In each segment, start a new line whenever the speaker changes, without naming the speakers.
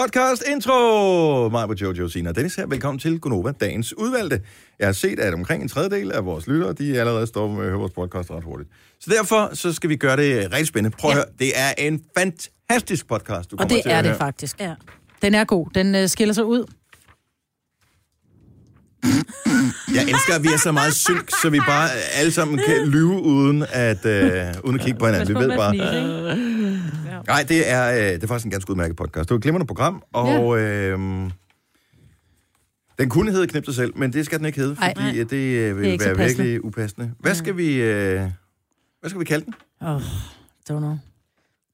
Podcast intro! Mig på Jojo Sina og Dennis her. Velkommen til Gunova, dagens udvalgte. Jeg har set, at omkring en tredjedel af vores lyttere, de allerede står med at høre vores podcast ret hurtigt. Så derfor så skal vi gøre det rigtig spændende. Prøv at
Ja.
høre, det er en fantastisk podcast, du
Og
kommer
det
til
er
at
det
høre.
faktisk.
Ja.
Den er god. Den øh, skiller sig ud.
Jeg elsker, at vi er så meget synk, så vi bare alle sammen kan lyve uden at, øh, uden at kigge på hinanden. Vi ved bare, Nej, det er, øh, det er faktisk en ganske udmærket podcast. Det var et glimrende program, og øh, den kunne hedde Knip dig selv, men det skal den ikke hedde,
Ej.
fordi øh, det øh, vil
Det er
det
ikke
være
så passende.
virkelig upassende. Hvad skal vi... Øh, hvad skal vi kalde den?
Åh, oh, don't know.
var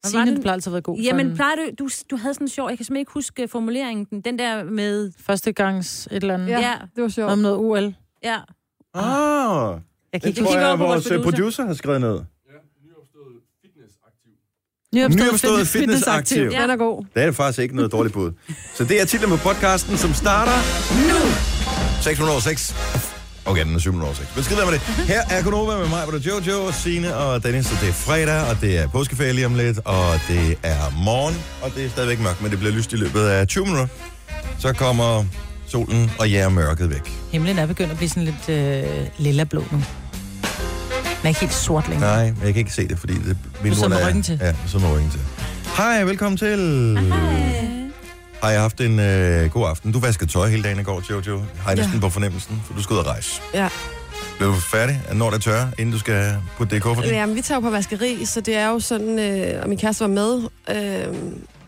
Signe,
det-
du plejer altid at være god.
Jamen,
for
plejer du, du, du havde sådan en sjov, jeg kan simpelthen ikke huske øh, formuleringen, den, den der med,
en første gangs
øh,
et eller andet.
Ja.
Ja.
ja,
Det var sjovt.
Om noget OL.
ja,
Jeg
Ah,
kan
det
ikke
tror
kigge
jeg,
over
at
på vores
vores øh,
producer.
producer har skrevet ned.
Nyopstået,
Nyopstået
fitness-
fitnessaktiv.
fitnessaktiv.
Den er god.
Det er faktisk ikke noget dårligt bud. Så det er titlen på podcasten, som starter nu. 606. Okay, den er 706. Men skidt med det. Her er Konoba med mig, hvor der er Jojo, Signe og Dennis. Og det er fredag, og det er påskeferie lige om lidt, og det er morgen, og det er stadigvæk mørkt, men det bliver lyst i løbet af 20 minutter. Så kommer solen og jæger mørket væk.
Himlen er begyndt at blive sådan lidt øh, lilla blå nu. Den er ikke helt sort længere.
Nej, men jeg kan ikke se det, fordi det, min
sidder med ryggen til.
Ja, så med ryggen til. Hej, velkommen til. Har jeg haft en øh, god aften? Du vaskede tøj hele dagen i går, Jojo. Har jeg
Ja.
næsten på fornemmelsen, for du skal ud og rejse.
Ja.
Blev du færdig, når det tør, inden du skal putte det i kufferten?
Jamen, vi tager jo på vaskeri, så det er jo sådan, øh, og min kæreste var med, øh,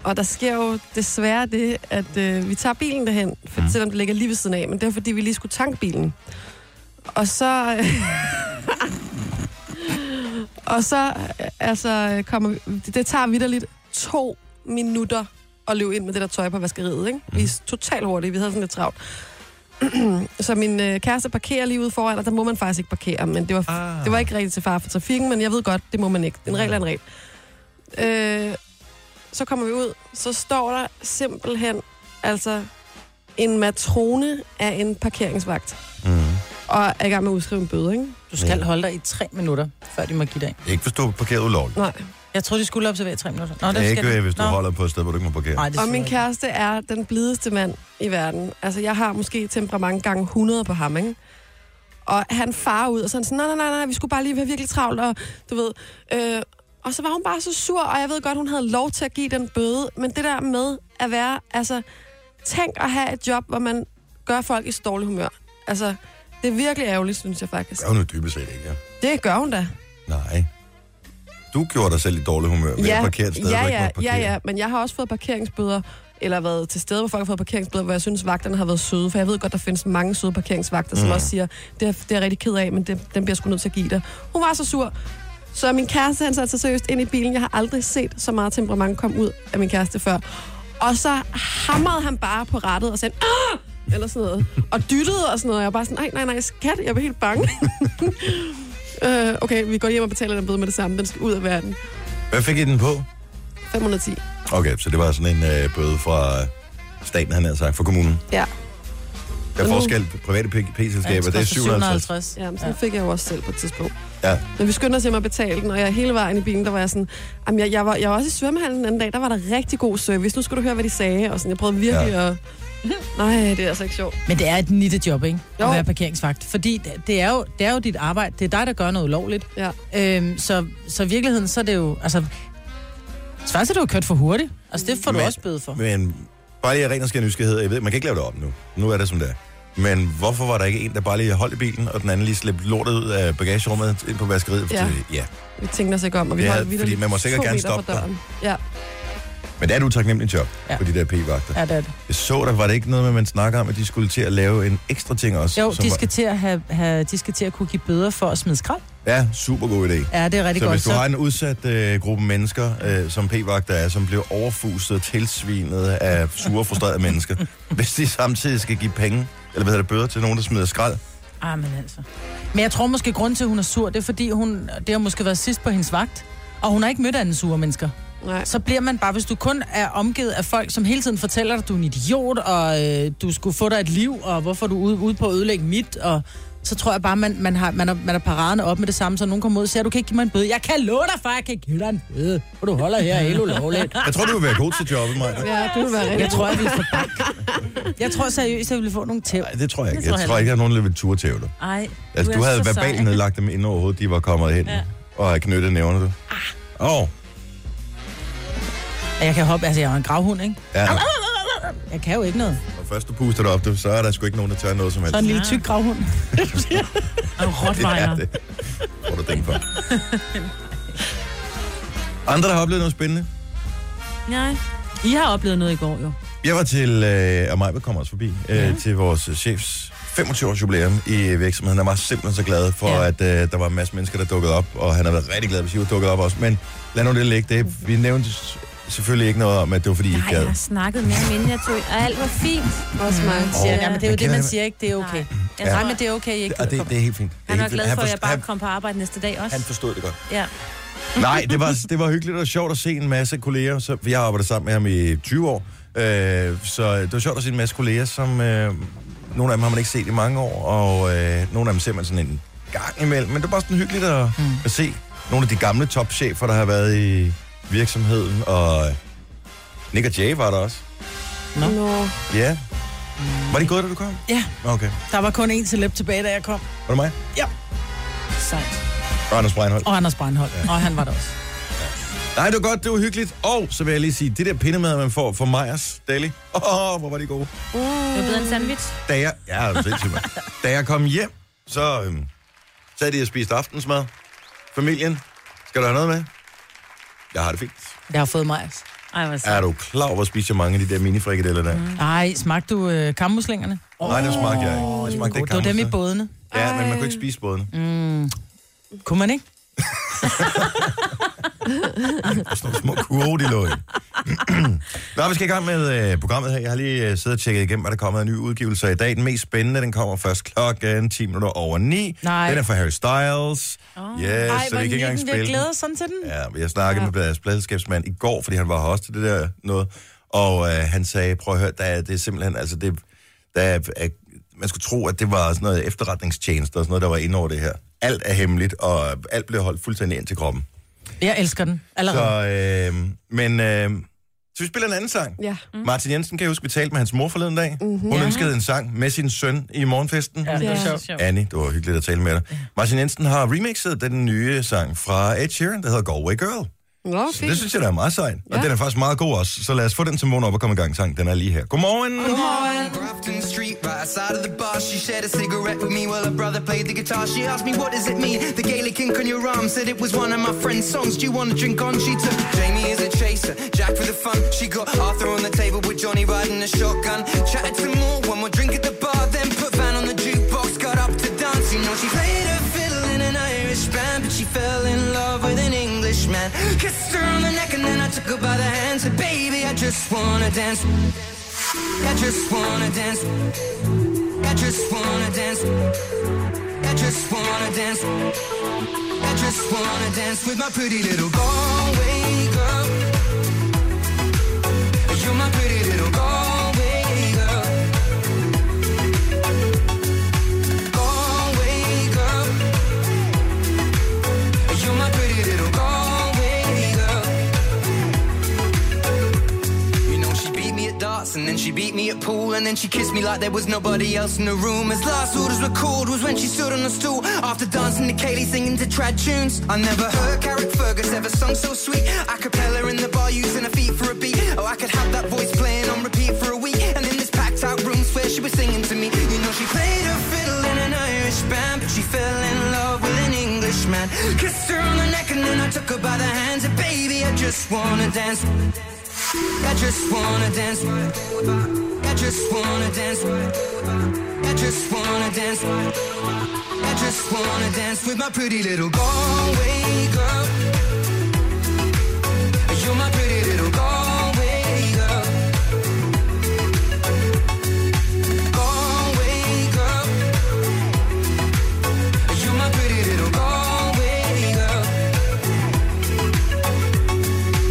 og der sker jo desværre det, at øh, vi tager bilen derhen, for,
Mm.
selvom det ligger lige ved siden af, men det er fordi, vi lige skulle tanke bilen. Og så... Øh, og så, øh, altså, kommer vi, det, det tager vidderligt to minutter at løbe ind med det der tøj på vaskeriet, ikke? Vi er totalt hurtige, vi havde sådan lidt travlt. så min øh, kæreste parkerer lige ude foran, og der må man faktisk ikke parkere, men det var
Ah.
det var ikke rigtigt til far for trafikken, men jeg ved godt, det må man ikke. En regel er en regel. Øh, så kommer vi ud, så står der simpelthen altså en matrone af en parkeringsvagt,
Mm.
og er i gang med at udskrive en bøde, ikke?
Du skal holde dig i tre minutter, før de må give dig en.
Ikke hvis du er parkeret ulovligt.
Nej.
Jeg tror, de skulle observere i tre minutter. Nå,
Ja,
skal
ikke
de.
øh, hvis du
Nå.
holder på et sted, hvor du ikke må parkere.
Nej, det
Og
skal
min
jeg
kæreste er den blideste mand i verden. Altså, jeg har måske temperament gange 100 på ham, ikke? Og han farer ud, og så er han sådan, nej, nej, nej, nej, vi skulle bare lige have virkelig travlt, og du ved... Øh, og så var hun bare så sur, og jeg ved godt, hun havde lov til at give den bøde, men det der med at være, altså, tænk at have et job, hvor man gør folk i dårlig humør. Altså, det er virkelig ærgerligt, synes jeg faktisk.
Det er jo nu dybest set ikke, ja.
Det gør hun da.
Nej. Du gjorde dig selv i dårlig humør ved at parkere et sted,
ja,
hvor du ikke
ja,
måtte parkere.
ja, ja, men jeg har også fået parkeringsbøder, eller været til stede, hvor folk har fået parkeringsbøder, hvor jeg synes, vagterne har været søde. For jeg ved godt, der findes mange søde parkeringsvagter, som
Mm.
også siger, det er, det er jeg rigtig ked af, men det, den bliver jeg sgu nødt til at give dig. Hun var så sur. Så min kæreste, han satte sig seriøst ind i bilen. Jeg har aldrig set så meget temperament komme ud af min kæreste før. Og så hamrede han bare på rattet og sagde, Åh! eller sådan noget. Og dyttede og sådan noget. Og jeg var bare sådan, nej, nej, nej, skat, jeg var helt bange. øh, okay, vi går hjem og betaler den bøde med det samme. Den skal ud af verden.
Hvad fik I den på?
510.
Okay, så det var sådan en øh, bøde fra øh, staten, han havde sagt, fra kommunen.
Ja.
Der er
Nu-
forskel på private p-
Ja, den
p-selskaber, det er
koster
750.
750.
Ja, men sådan ja. fik jeg jo også selv på et tidspunkt.
Ja.
Men vi skyndte os hjem og betalte den, og jeg hele vejen i bilen, der var jeg sådan... Jamen, jeg, jeg, var, jeg var også i svømmehallen den anden dag, der var der rigtig god service. Nu skulle du høre, hvad de sagde, og sådan. Jeg prøvede virkelig ja. at... Nej, det er altså ikke sjovt.
Men det er et nittejob, ikke? Jo.
Jo.
At være parkeringsvagt. Fordi det- det er, jo, det er jo dit arbejde. Det er dig, der gør noget ulovligt.
Ja.
Øhm, så, så i virkeligheden, så er det jo... Altså, Svans er du jo kørt for hurtigt. Altså, det får du
Men-
også bøde for.
Men bare lige af ren og skær nysgerrighed, jeg ved, man kan ikke lave det om nu. Nu er det, som det er. Men hvorfor var der ikke en, der bare lige holdt i bilen, og den anden lige slæbte lortet ud af bagagerummet ind på vaskeriet?
Ja.
Fordi- ja.
Vi tænkte os ikke om, og vi
Ja,
ja, holdt
fordi
videre
man må sikkert gerne stoppe dig.
Ja.
Men det er du taknemmelig job ja.
Ja.
på de der p-vagter. Ja.
Ja, det er det.
Jeg så der var det ikke noget med, at man snakker om, at de skulle til at lave en ekstra ting også.
Jo,
som
de
var-
skal, til at have, have, de skal til at kunne give bøder for at smide skrald.
Ja, super god idé.
Ja, det er rigtig
Så
godt.
hvis du har en udsat øh, gruppe mennesker, øh, som p-vagter er, som bliver overfuset og tilsvinet af sure, frustrerede mennesker, hvis de samtidig skal give penge, eller hvad hedder det, bøder til nogen, der smider skrald,
Ah, men altså. Men jeg tror måske, grund til, at hun er sur, det er, fordi hun, det har måske været sidst på hendes vagt. Og hun har ikke mødt anden sure mennesker.
Nej.
Så bliver man bare, hvis du kun er omgivet af folk, som hele tiden fortæller dig, at du er en idiot, og øh, du skulle få dig et liv, og hvorfor er du ude, ude på at ødelægge mit, og så tror jeg bare, man, man, har, man, er, man er paraderne op med det samme, så nogen kommer ud og siger, du kan ikke give mig en bøde. Jeg kan love dig, far, jeg kan ikke give dig en bøde. For du holder her helt ulovligt.
Jeg tror, du vil være god til jobbet, Maja.
Ja, det vil være rigtig.
Jeg tror, jeg ville få bank. Jeg tror seriøst, jeg ville få nogle tæv.
Nej, det tror jeg ikke.
tror
Jeg
jeg
tror ikke, at nogen der vil turde til dig.
Ej,
Altså, du,
er
havde
så
verbalt
sej.
nedlagt dem ind over hovedet, de var kommet hen ja. og havde knyttet nævnerne. Åh, ah. oh,
Og Jeg kan hoppe, altså jeg er en gravhund, ikke?
ja.
Jeg kan jo ikke noget.
Når først du puster dig op, du- så er der sgu ikke nogen, der tør noget som helst.
Så en lille tyk gravhund.
Og en rottweiler.
det. Får du den for. Andre, der har oplevet noget spændende?
Nej. I har oplevet noget i går, jo.
Jeg var til, øh, og Maja kommer også forbi, øh, ja. til vores øh, chefs 25-års jubilæum i virksomheden. Han var simpelthen så glad for, ja.
Ja.
at øh, der var en masse mennesker, der dukkede op, og han har været rigtig glad, hvis I var dukket op også. Men lad nu det ligge. Det, vi nævnte s- selvfølgelig ikke noget om, at det var fordi, I ikke
Nej, jeg
gad.
har snakket mere om, inden jeg tog ind, og alt var fint. Mm.
Også mig.
Ja,
Åh,
nej, men det er
jeg
jo det,
kender
man siger ikke, det er okay.
Nej, jeg
Ja.
tror,
Nej, men det er okay, I ikke
Og det, det er helt fint. Det er
han var
helt fint.
glad for, at jeg
forst-
bare
han,
kom på arbejde næste dag også.
han forstod det godt. Nej, det var, det var hyggeligt og sjovt at se en masse kolleger. Så, for jeg har arbejdet sammen med ham i 20 år. Øh, så det var sjovt at se en masse kolleger, som øh, nogle af dem har man ikke set i mange år, og øh, nogle af dem ser man sådan en gang imellem. Men det var bare sådan hyggeligt at, mm. at se nogle af de gamle topchefer, der har været i virksomheden. Og Nick og Jay var der også.
Nå.
Nå.
Ja. Var det godt, da du kom?
Ja,
Okay.
der var kun én celeb tilbage, da jeg kom.
Var det mig?
Sejt.
Og Anders Breinholt.
Og Anders Breinholt. Ja. Og han var der også.
Nej, det var godt, det var hyggeligt. Og så vil jeg lige sige, det der pindemad, man får fra Majers Deli. Åh, oh, hvor var de gode.
Uh.
Det var bedre end sandwich.
da jeg, ja, er du sindssyg, mand. da jeg kom hjem, så øhm, sad de og spiste aftensmad. Familien, skal du have noget med? Jeg har det fint.
Jeg har fået majs.
Ej, hvor sejt.
Er du klar over at spise mange af de der minifrikadeller der? Mm.
Ej, smagte du øh, kammuslingerne?
Nej, det smagte jeg ikke. Det smagte ikke
Det var dem i
kammerset.
bådene.
Ja, men man kunne ikke spise bådene. Mm.
Kunne man ikke?
Sådan nogle små kurve, de lå i. Nå, vi skal i gang med øh, programmet her. Jeg har lige øh, siddet og tjekket igennem, hvad der kommer af nye udgivelser i dag. Den mest spændende, den kommer først klokken 10 minutter over 9.
Nej.
Den er fra Harry Styles. Oh. Yes,
Ej, hvor
så vi kan ikke engang
nikken
spille
vil
den.
glæde sådan til den.
Ja, men jeg snakkede ja. med deres pladselskabsmand i går, fordi han var her også til det der noget, og øh, han sagde, prøv at høre, der er, det er simpelthen, altså det, der er, er, man skulle tro, at det var sådan noget efterretningstjeneste og sådan noget, der var inde over det her. Alt er hemmeligt, og alt blev holdt fuldstændig ind til kroppen.
Jeg elsker den allerede. Så...
Så, øh, men, øh, så vi spiller en anden sang.
Ja.
Mm. Martin Jensen, kan jeg huske, vi talte med hans mor forleden dag. Mm-hmm. Hun ønskede en sang med sin søn i morgenfesten.
Ja, det
Ja.
er sjovt.
Annie, det var hyggeligt at tale med dig. Martin Jensen har remixet den nye sang fra Ed Sheeran, der hedder Go Away Girl.
Nå,
Så
fint.
det synes jeg, der er meget sejt. Og
Ja.
den er faktisk meget god også. Så lad os få den til morgen op og komme i gang. Sang, den er lige her. Godmorgen!
Grafton Street, right outside of the bar. She shared a cigarette with me while her brother played the guitar. She asked me, What does it mean? The Gaelic ink on your arm said it was one of my friend's songs. Do you want to drink on? She took Jamie as a chaser, Jack for the fun. She got Arthur on the table with Johnny riding a shotgun. Chatted some more, one more drink at the bar. Then put Van on the jukebox, got up to dance. You know, she played her fiddle in an Irish band, but she fell in love with an Englishman. Kissed her on the neck, and then I took her by the hand. Said, Baby, I just wanna dance. I just wanna dance. I just wanna dance. I just wanna dance. I just wanna dance with my pretty little Galway girl. You're my pretty little Galway girl. Galway girl. You're my pretty little Galway girl. You know, she beat me at darts and then she beat me at pool and then she kissed me like there was nobody else in the room. As last orders were called was when she stood on a stool after dancing to Kaylee singing to trad tunes. I never heard Carrick Fergus ever sung so sweet. A cappella in the bar using her feet for a beat. Oh, I could have that voice playing on repeat for a week. And in this packed out room, swear she was singing to me. You know, she played her fiddle in an Irish band, but she fell in love with an Englishman. Kissed her on the neck and then I took her by the hands. And baby, I just wanna dance. I just wanna dance. I just wanna dance. I just wanna dance. I just wanna dance with my pretty little Galway girl. You're my pretty little Galway girl. Galway girl. You're my pretty little Galway girl.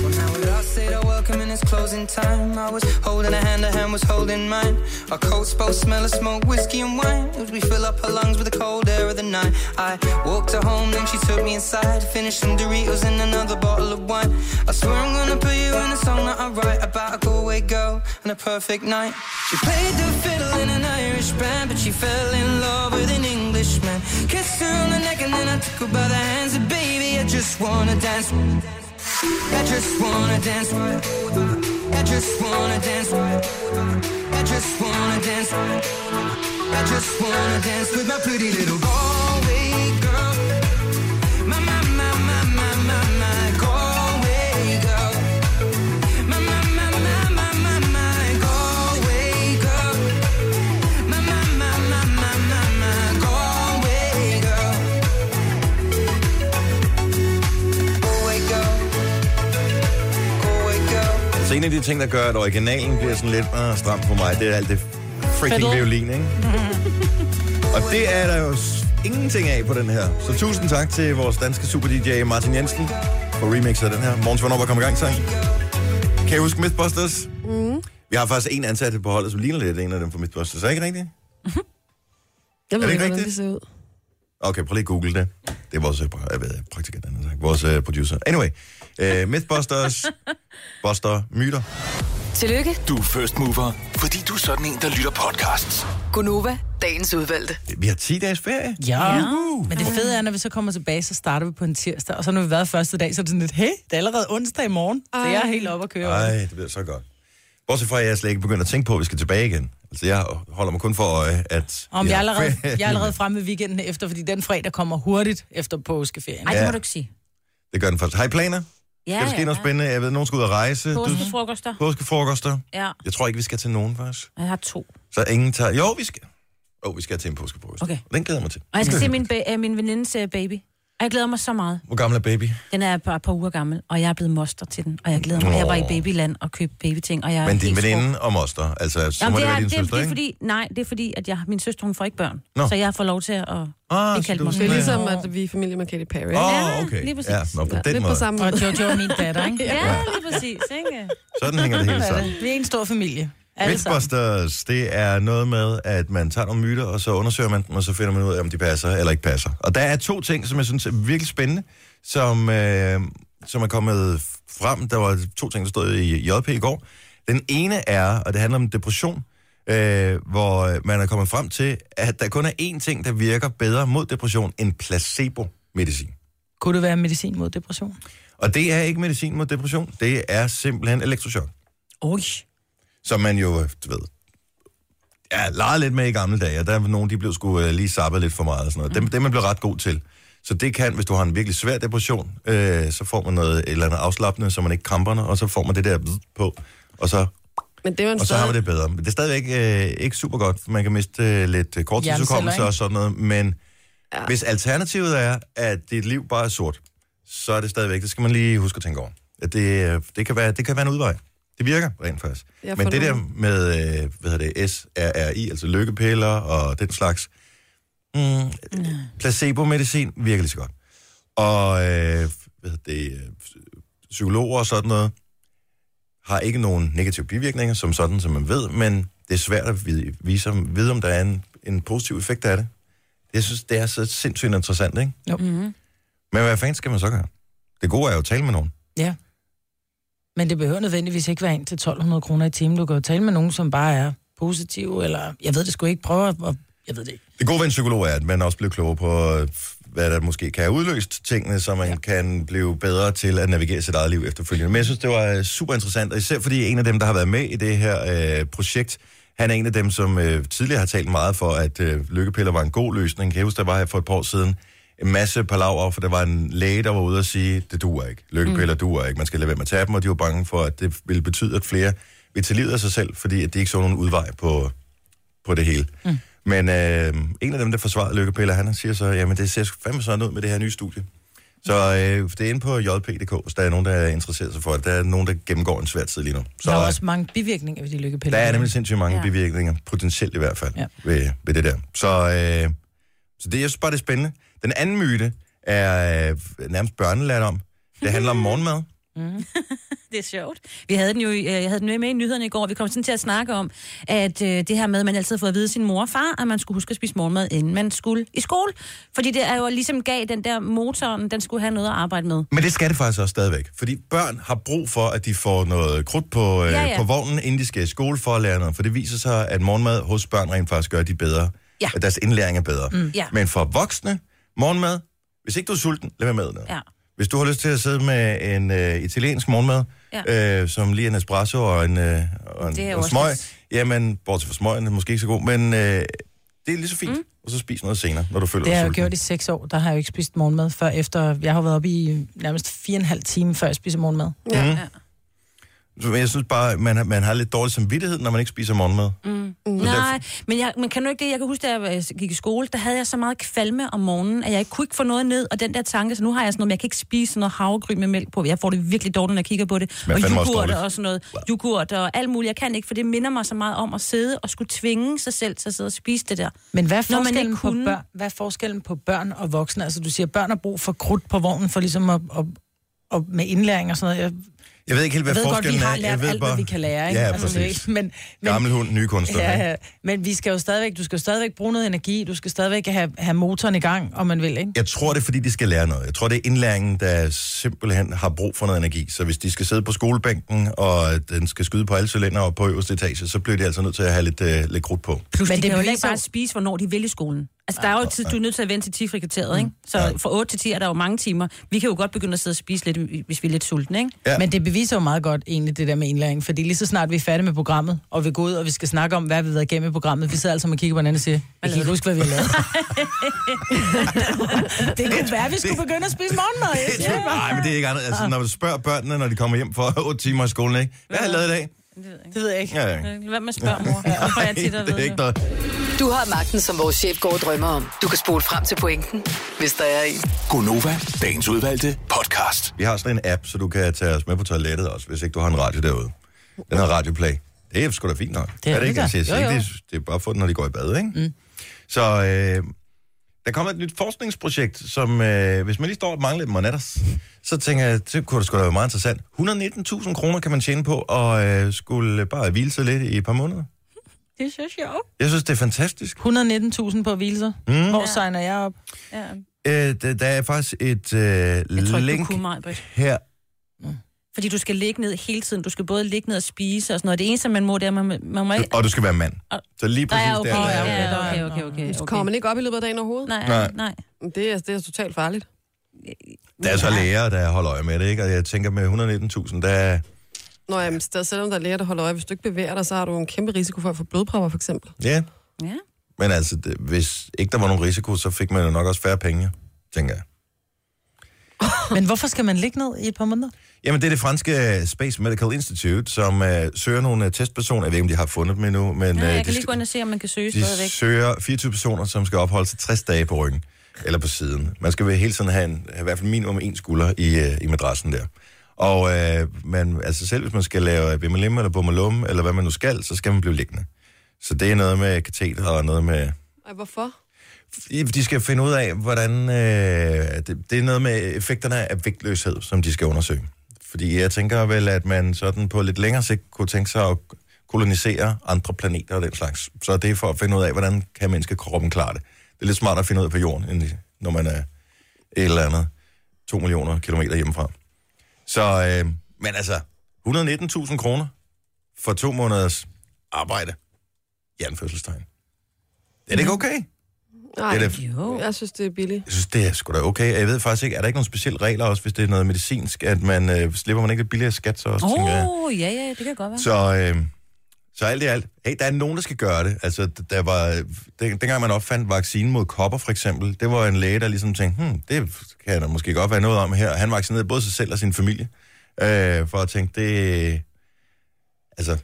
Well, now we all said our welcome and it's closing time. I was holding a hand tender hand was holding mine. Our coats both smell of smoke, whiskey, and wine. As we fill up her lungs with the cold air of the night. I walked her home, then she took me inside. Finished some Doritos and another bottle of wine. I swear I'm gonna put you in a song that I write about a Galway girl and a perfect night. She played the fiddle in an Irish band, but she fell in love with an Englishman. Kissed her on the neck and then I took her by the hands. And baby, I just wanna dance. I just wanna dance right. I just wanna dance right. I just wanna dance right. I just wanna dance with my pretty little Galway girl. My my my my my my my Galway girl. My my my my my my my Galway girl. My my my my my my my Galway girl. Galway girl. Galway girl.
Så en af de ting, der gør, at originalen bliver sådan lidt uh, stram for mig, det er alt det freaking
Fiddle.
violin, ikke? Og det er der jo s- ingenting af på den her. Så tusind tak til vores danske super DJ Martin Jensen for remixet af den her. Morgens Vandrup er kommet i gang sang. Kan I huske Mythbusters? Mm.
Mm-hmm.
Vi har faktisk en ansat på holdet, som ligner lidt en af dem fra Mythbusters. Er det ikke rigtigt?
Jeg ved
det
ikke, hvordan
rigtigt?
det ser ud.
Okay, prøv lige at google det. Det er vores øh, pra- øh, hvad hedder det? praktikant, han har sagt. vores øh, producer. Anyway, uh, Mythbusters, Buster, Myter.
Tillykke,
Du er first mover, fordi du er sådan en, der lytter podcasts.
Gunova, dagens udvalgte.
Vi har 10 dages ferie.
Ja. ja. Men det fede er, når vi så kommer tilbage, så starter vi på en tirsdag, og så når vi har været første dag, så er det sådan lidt, hey, det er allerede onsdag i morgen, så jeg er helt oppe at køre.
Ej, det bliver så godt. Bortset fra, at jeg slet ikke begynder at tænke på, at vi skal tilbage igen. Altså, jeg holder mig kun for øje, at...
Om jeg, er
har
allerede,
ferie.
jeg er allerede fremme i weekenden efter, fordi den fredag kommer hurtigt efter påskeferien.
Ej, det
Ja.
må du ikke sige.
Det gør den faktisk. Har I planer?
Ja,
Skal der ske noget spændende? Jeg ved, nogen skal ud og rejse. Du-
Påskefrokoster.
Påskefrokoster.
Ja,
Jeg tror ikke, vi skal til nogen faktisk.
jeg har to.
Så ingen tager... Jo, vi skal. Jo, vi skal til en påskefrokost.
Okay.
Den glæder jeg mig til. Mm.
Og jeg skal se min, ba- øh, min venindes øh, baby. Og jeg glæder mig så meget.
Hvor gammel er baby?
Den er bare et par uger gammel, og jeg er blevet moster til den. Og jeg glæder mig.
Nå.
Jeg var i babyland og købte babyting, og jeg er
Men din
helt skruet.
veninde og moster. Altså, så
Jamen,
må
det,
det,
er,
være din
det,
søster,
det er
ikke?
fordi, nej, det er fordi, at jeg, min søster, hun får ikke børn.
Nå.
Så jeg får lov til at
Ah,
blive
så
kaldt
du er
moster.
Det er
Ja.
ligesom, at vi er familie med Katy Perry.
Åh,
Ja,
oh, okay.
lige præcis.
ja, nå, på
Ja,
den
lidt
måde.
på samme
Og
måde.
Jojo er min datter, ikke?
Ja, lige præcis, ikke?
Sådan hænger det hele
Hvad er
sammen.
det? Vi er en stor familie. Alle sammen.
Mythbusters, det er noget med, at man tager nogle myter, og så undersøger man dem, og så finder man ud af, om de passer eller ikke passer. Og der er to ting, som jeg synes er virkelig spændende, som, øh, som er kommet frem. Der var to ting, der stod i JP i går. Den ene er, og det handler om depression, øh, hvor man er kommet frem til, at der kun er én ting, der virker bedre mod depression end placebo-medicin.
Kunne det være medicin mod depression?
Og det er ikke medicin mod depression, det er simpelthen elektrochok.
Oj.
som man jo, øh, du ved, ja, legede lidt med i gamle dage, og der er nogen, de blev sgu øh, lige sappet lidt for meget og sådan noget. Dem, dem er man blevet ret god til. Så det kan, hvis du har en virkelig svær depression, øh, så får man noget et eller andet afslappende, så man ikke kramper, og så får man det der bzzz på, og så,
Men det er jo en
og så har man
stadig-
det bedre. Men det er stadigvæk øh, ikke super godt, for man kan miste øh, lidt øh, korttidsudkommelse
Hjerneceller,
og sådan noget, men ja. hvis alternativet er, at dit liv bare er sort, så er det stadigvæk, det skal man lige huske at tænke over. At det, øh, det, kan være, det kan være en udvej. Det virker rent faktisk.
Jeg
Men
får
det der
nogle-
med, øh, hvad hedder det, SRRI, altså lykkepiller og den slags, mm, placebo-medicin virker lige så godt. Og øh, hvad hedder det, øh, psykologer og sådan noget, har ikke nogen negative bivirkninger, som sådan, som man ved, men det er svært at vide, vise, om- vide om der er en, en positiv effekt af det. Jeg synes, det er så sindssygt interessant, ikke?
Jo.
Mm-hmm. Men hvad fanden skal man så gøre? Det gode er jo at tale med nogen.
Ja. Men det behøver nødvendigvis ikke være ind til 1200 kroner i timen. Du kan jo tale med nogen, som bare er positiv, eller jeg ved det sgu ikke, prøve at... og- Jeg ved det ikke.
Det gode ved en psykolog er, at man også bliver klogere på, øh, hvad der måske kan have udløst tingene, så man ja. kan blive bedre til at navigere sit eget liv efterfølgende. Men jeg synes, det var øh, super interessant, og især fordi en af dem, der har været med i det her øh, projekt, han er en af dem, som øh, tidligere har talt meget for, at øh, lykkepiller var en god løsning. Kan jeg huske, der var her for et par år siden en masse palaver, for der var en læge, der var ude og sige, det duer ikke. Lykkepiller mm. duer ikke. Man skal lade være med at tage dem, og de var bange for, at det ville betyde, at flere vil tage livet af sig selv, fordi at de ikke så nogen udvej på, på det hele. Mm. Men øh, en af dem, der forsvarede lykkepiller, han siger så, jamen det ser sgu fandme sådan ud med det her nye studie. Så øh, det er inde på jp.dk, hvis der er nogen, der er interesseret sig for det. Der er nogen, der gennemgår en svær tid lige nu. Så
Der er
øh,
også mange bivirkninger ved de lykkepiller.
der er nemlig sindssygt mange ja.
Ja.
bivirkninger, potentielt i hvert fald, ja.
Ja.
ved, ved det der. Så, øh, så det, jeg synes bare, det er spændende. Den anden myte er øh, nærmest børnelært om. Det handler om morgenmad. Mm.
Det er sjovt. Vi havde den jo, i- øh, jeg havde den jo med i nyhederne i går, og vi kom sådan til at snakke om, at øh, det her med, at man altid har fået at vide af sin mor og far, at man skulle huske at spise morgenmad, inden man skulle i skole. Fordi det er jo ligesom gav den der motoren, den skulle have noget at arbejde med.
Men det skal det faktisk også stadigvæk. Fordi børn har brug for, at de får noget krudt på, øh, ja,
Ja,
ja.
ja.
på vognen, inden de skal i skole for at lære noget. For det viser sig, at morgenmad hos børn rent faktisk gør, at de er bedre.
Ja.
At deres indlæring er bedre. Mm.
Ja.
Men for voksne, morgenmad, hvis ikke du er sulten, lad være med noget.
Ja.
Hvis du har lyst til at sidde med en øh, italiensk morgenmad, ja. øh, som lige er en espresso og en, øh, og en,
Det er jo
og en
også
smøg,
lidt-
jamen, bortset fra smøgen, er måske ikke så god, men øh, det er lige så fint. Mm. Og så spis noget senere, når du føler
Det har
dig
jeg jo
sulten.
gjort i seks år. Der har jeg jo ikke spist morgenmad før efter... Jeg har jo været oppe i nærmest fire og en halv time, før jeg spiser morgenmad.
Mhm. Så Jeg synes bare, man, har- man har lidt dårlig samvittighed, når man ikke spiser morgenmad. Mm.
Nej, men, jeg, men kan du ikke det? Jeg kan huske, da jeg øh, gik i skole, der havde jeg så meget kvalme om morgenen, at jeg ikke kunne ikke få noget ned, og den der tanke, så nu har jeg sådan noget, men jeg kan ikke spise sådan noget havregryn med mælk på. Jeg får det virkelig dårligt, når jeg kigger på det.
Men
og
fandme også
yoghurt
dårligt.
og sådan noget. Yoghurt og alt muligt. Jeg kan ikke, for det minder mig så meget om at sidde og skulle tvinge sig selv til at sidde og spise det der.
Men hvad er,
Når man
forskellen
ikke
på
kunne.
børn, hvad er forskellen på børn og voksne? Altså, du siger, børn har brug for krudt på vognen for ligesom at, at, at med indlæring og sådan noget. Jeg,
Jeg ved ikke helt, hvad
jeg ved godt, vi
forskellen
har
er. Jeg
lært
ved
alt, hvad vi kan lære. Ikke?
Ja,
Altså, det er
præcis.
ikke- Men, men,
Gammel hund, nye kunstner. Ja,
ja, men vi skal jo stadigvæk, du skal jo stadigvæk bruge noget energi. Du skal stadigvæk have, have motoren i gang, om man vil, ikke?
Jeg tror, det er, fordi de skal lære noget. Jeg tror, det er indlæringen, der simpelthen har brug for noget energi. Så hvis de skal sidde på skolebænken, og den skal skyde på alle cylinder og på øverste etage, så bliver de altså nødt til at have lidt, øh, lidt krudt på.
Plus,
Men
men de det
det er
kan
jo
jo heller
lige
ikke
så-
bare spise, hvornår de vil i skolen. Altså, der er jo
Ah,
et tid, du er nødt til at vente til 10 frikvarteret,
Mm.
ikke? Så fra 8 til 10 er der jo mange timer. Vi kan jo godt begynde at sidde og spise lidt, hvis vi er lidt sultne, ikke?
Ja.
Ja. Men det beviser jo meget godt egentlig det der med indlæring, fordi lige så snart vi er færdige med programmet, og vi går ud, og vi skal snakke om, hvad vi har været igennem i programmet, vi sidder altså og kigger på hinanden og siger, jeg kan ikke huske, hvad vi har lavet. det kunne være, at vi skulle begynde at spise morgenmad. Jeg siger det bare.
Nej, men det er ikke andet. Altså, når du spørger børnene, når de kommer hjem for 8 timer i skolen, ikke? Hvad har jeg lavet i dag?
Det ved jeg ikke.
Ja, ja. Nej,
Hvad med at spørge mor? Det får jeg tit at
det er
vide.
ikke noget.
Du har magten, som vores chef går og drømmer om. Du kan spole frem til pointen, hvis der er en.
Gonova, dagens udvalgte podcast.
Vi har sådan en app, så du kan tage os med på toilettet også, hvis ikke du har en radio derude. Den har Radioplay. Det er sgu da fint nok.
Det er
er det ikke?
det
Altså, jeg
da. Jo,
siger ikke,
jo.
Det, er- det er bare for den, når de går i bad, ikke? Mm. Så øh, der kommer et nyt forskningsprojekt, som øh, hvis man lige står og mangler dem og natters, så tænker jeg, det kunne da sgu da være meget interessant. 119.000 kroner kan man tjene på, og øh, skulle bare hvile sig lidt i et par måneder.
Det synes jeg også.
Jeg synes, det er fantastisk.
119.000 på hvilser. Mm. Hvor signer jeg op?
Ja.
Øh, der, der er faktisk et øh,
Jeg tror ikke, du
link
kunne mig, Britt.
her.
Fordi du skal ligge ned hele tiden. Du skal både ligge ned og spise og sådan noget. Det eneste, man må, det er, man, man må ikke...
Og du skal være mand.
Og-
Så lige
Nej,
præcis
ja, okay,
der.
ja,
der er-
okay, okay, okay, okay,
Så kommer
okay.
man ikke op i løbet af dagen overhovedet?
Nej,
Nej.
nej.
Nej. Det, er, det er totalt farligt.
Der er så læger, der holder øje med det, ikke? Og jeg tænker, med 119.000, der...
Nå, jamen, der, selvom der er læger, der holder øje, hvis du ikke bevæger dig, så har du en kæmpe risiko for at få blodpropper, for eksempel.
Ja,
Ja.
men altså, det, hvis ikke der var nogen risiko, så fik man jo nok også færre penge, tænker jeg.
Men hvorfor skal man ligge ned i et par måneder?
Jamen, det er det franske øh, Space Medical Institute, som uh, søger nogle uh, testpersoner. Jeg ved ikke, om de har fundet dem endnu, men
Nej,
øh,
jeg
de,
kan lige gå ind og se, om man kan søge
de
stadigvæk.
søger 24 personer, som skal opholde sig 60 dage på ryggen, eller på siden. Man skal vel hele tiden have, en, have i hvert fald minimum en skulder i, uh, i madrassen der. Og uh, man, altså selv hvis man skal lave bimmelim eller bummelum, eller hvad man nu skal, så skal man blive liggende. Så det er noget med kateter og noget med
Ej, hvorfor?
De skal finde ud af, hvordan... Øh, det, det er noget med effekterne af vægtløshed, som de skal undersøge. Fordi jeg tænker vel, at man sådan på lidt længere sigt kunne tænke sig at kolonisere andre planeter og den slags. Så det er for at finde ud af, hvordan kan menneskekroppen klare det. Det er lidt smartere at finde ud af på jorden, end når man er et eller andet to millioner kilometer hjemmefra. Så, øh, men altså, 119.000 kroner for to måneders arbejde. I anførselstegn. Er det ikke okay?
Nej,
Det er det-
Jo.
jeg synes, det er billigt.
Jeg synes, det er sgu da okay. Jeg ved faktisk ikke, er der ikke nogen specielle regler også, hvis det er noget medicinsk, at man øh, slipper man ikke lidt billigere skat så også,
Åh,
tænker jeg.
oh, ja, ja, det kan godt være.
Så, øh, så alt i alt, hey, der er nogen, der skal gøre det. Altså, d- der var, øh, den, dengang man opfandt vaccinen mod kopper, for eksempel, det var en læge, der ligesom tænkte, hmm, det kan der måske godt være noget om her. Han vaccinerede både sig selv og sin familie, øh, for at tænke, det... Altså,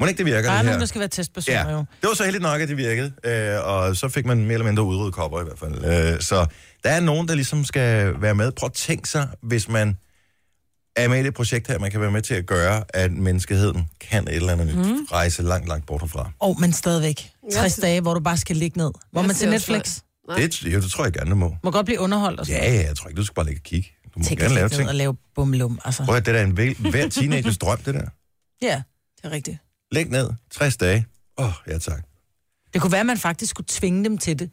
må ikke det virker,
Der er
det her?
nogen, der skal være testpersoner
Ja,
jo.
det var så heldigt nok, at det virkede, øh, og så fik man mere eller mindre udryddet kopper i hvert fald. Øh, så der er nogen, der ligesom skal være med. Prøv at tænke sig, hvis man er med i det projekt her, man kan være med til at gøre, at menneskeheden kan et eller andet nyt
Mhm.
rejse langt, langt bort herfra.
Og men stadigvæk. 60
sy-
dage, hvor du bare skal ligge ned. Hvor
Jeg
man til
ser også
Netflix
Det, jo, det tror jeg gerne, du må.
må godt blive underholdt og sådan
Ja, ja, jeg tror ikke, du skal bare ligge og kigge. Du må
Tænk
gerne lave
at sidde
ting.
og lave bumlum, altså.
Prøv at høre, det er da en vel, hver teenagers drøm, det der.
Ja, det er rigtigt.
Læg ned, 60 dage. Åh, oh, ja tak.
Det kunne være, at man faktisk skulle tvinge dem til det.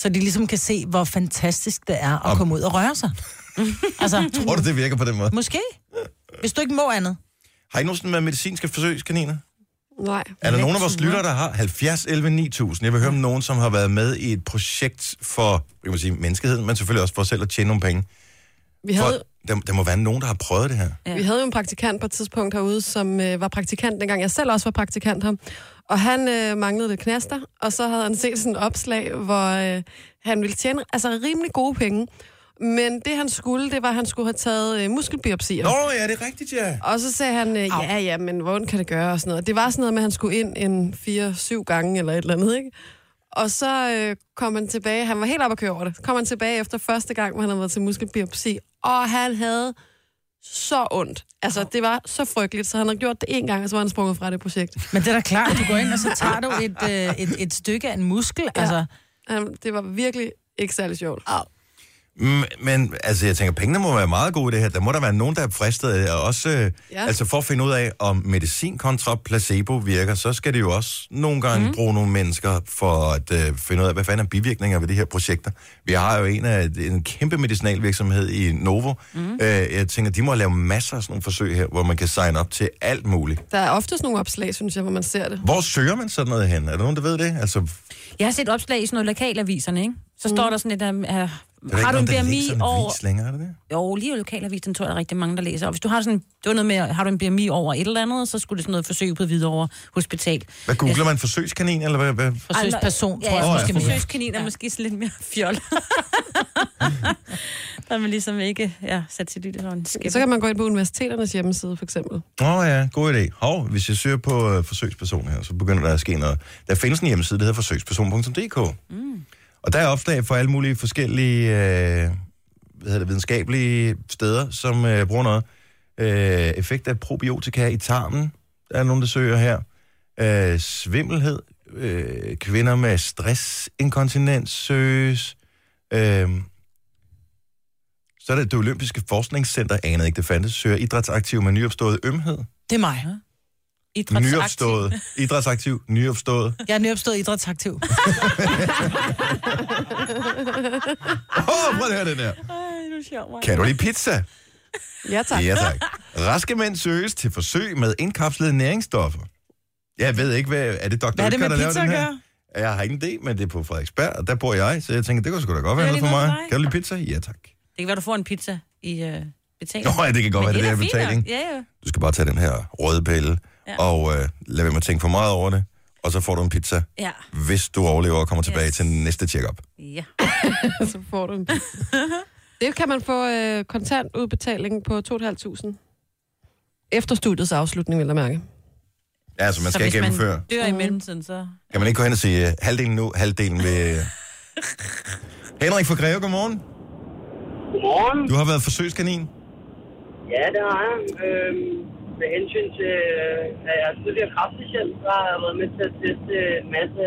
Så de ligesom kan se, hvor fantastisk det er at
Om-
komme ud og røre sig. altså,
Tror du, det virker på den måde?
måske. Hvis du ikke må andet.
Har I nogensinde været medicinske forsøgskaniner?
Nej.
Er der nogen af vores lyttere, der har 70, 11, 9000? Jeg vil høre om nogen, som har været med i et projekt for hvad kan man sige, menneskeheden, men selvfølgelig også for selv at tjene nogle penge.
Vi
For,
havde,
der, der må være nogen, der har prøvet det her.
Ja.
vi havde jo en praktikant på et tidspunkt herude, som øh, var praktikant, dengang jeg selv også var praktikant her. Og han øh, manglede lidt knaster, og så havde han set sådan et opslag, hvor øh, han ville tjene altså rimelig gode penge. Men det han skulle, det var, at han skulle have taget øh, muskelbiopsier.
Nå, ja, det er rigtigt, ja.
Og så sagde han, øh, ja, ja, men hvor ondt kan det gøre, og sådan noget. Det var sådan noget med, at han skulle ind en 4-7 gange, eller et eller andet, ikke? Og så øh, kom han tilbage, han var helt oppe at køre over det, så kom han tilbage efter første gang, hvor han havde været til muskelbiopsi, og han havde så ondt. Altså, det var så frygteligt, så han havde gjort det en gang, og så var han sprunget fra det projekt.
Men det er da klart, du går ind, og så tager du et, øh, et, et stykke af en muskel. Ja. Altså,
Han, det var virkelig ikke særlig sjovt.
Mm, Men altså, jeg tænker, pengene må være meget gode i det her. Der må der være nogen, der er fristet af det, og også øh, ja.
Ja.
altså for at finde ud af, om medicin kontra placebo virker, så skal det jo også nogle gange
Mhm.
mm. bruge nogle mennesker for at øh, finde ud af, hvad fanden er bivirkninger ved de her projekter. Vi har jo en, af, en kæmpe medicinalvirksomhed i Novo.
Mhm.
Mm. Øh, jeg tænker, de må lave masser af sådan nogle forsøg her, hvor man kan signe op til alt muligt.
Der er oftest nogle opslag, synes jeg, hvor man ser det.
Hvor søger man sådan noget hen? Er der nogen, der ved det? Altså,
Jeg har set opslag i sådan noget lokalaviserne, ikke? Så står der sådan lidt, um, uh,
der er der
har du en
ikke nogen, der
BMI
læser en
over...
vis længere, er det det?
Jo, lige lokalavis, den tror jeg, der er rigtig mange, der læser. Og hvis du har sådan, det var noget med, har du en BMI over et eller andet, så skulle det sådan noget forsøg på Hvidovre Hospital.
Hvad googler man? Forsøgskanin, eller hvad? hvad?
forsøgsperson,
Ja,
tror jeg
Åh, ja,
måske mere.
forsøgskaniner er måske sådan lidt mere fjol. der er man ligesom ikke ja, sat sit lille sådan
Så
skæb.
kan man gå ind på universiteternes hjemmeside, for eksempel.
Åh oh, ja, god idé. Hov, hvis jeg søger på øh, forsøgsperson her, så begynder der at ske noget. Der findes en hjemmeside, der hedder forsøgsperson.dk. Mm. Og der er opslag for alle mulige forskellige øh, hvad hedder det, videnskabelige steder, som øh, bruger noget. Øh, effekt af probiotika i tarmen, der er nogen, der søger her. Øh, svimmelhed, øh, kvinder med stressinkontinens søges. Øh, så er det det olympiske forskningscenter, anede ikke det fandtes, søger idrætsaktiv med nyopstået ømhed.
Det er mig.
Nyopstået. Idrætsaktiv, nyopstået.
Jeg er nyopstået idrætsaktiv.
Åh, oh, prøv at høre den her. Kan du lide pizza?
Ja, tak.
Ja, tak. Raske mænd søges til forsøg med indkapslede næringsstoffer. Jeg ved ikke, hvad... Er det Dr.
Hvad er det
Oetker,
med
der laver
pizza
den
at
her?
gøre?
Jeg har ingen idé, men det er på Frederiksberg, og der bor jeg, så jeg tænker, det kunne sgu da godt være
Er
noget
det
for
noget
mig.
for dig?
Kan du lide pizza? Ja, tak.
Det kan være, du får en pizza i øh, betaling.
Nå, ja, det kan godt være, det,
er
der
da fint nok.
betaling.
Ja, ja.
Du skal bare tage den her røde pille, ja.
Ja.
og øh, lad være med at tænke for meget over det, og så får du en pizza,
Ja.
hvis du overlever og kommer tilbage
Yes.
til næste check-up.
ja.
så får du en bil. Det kan man få øh, kontantudbetaling på 2.500. Efter studiets afslutning, vil jeg mærke.
Ja, altså, man
Så
skal
hvis
gennemføre.
man
Mm.
dør i mellemtiden, så...
Kan man ikke gå hen og sige øh, halvdelen nu, halvdelen ved... øh? Henrik fra Greve, godmorgen.
Godmorgen.
Du har været forsøgskanin.
Ja, det har jeg. Øhm, med hensyn til, øh, at jeg er tidligere kraftpatient, så har jeg været med til at teste en masse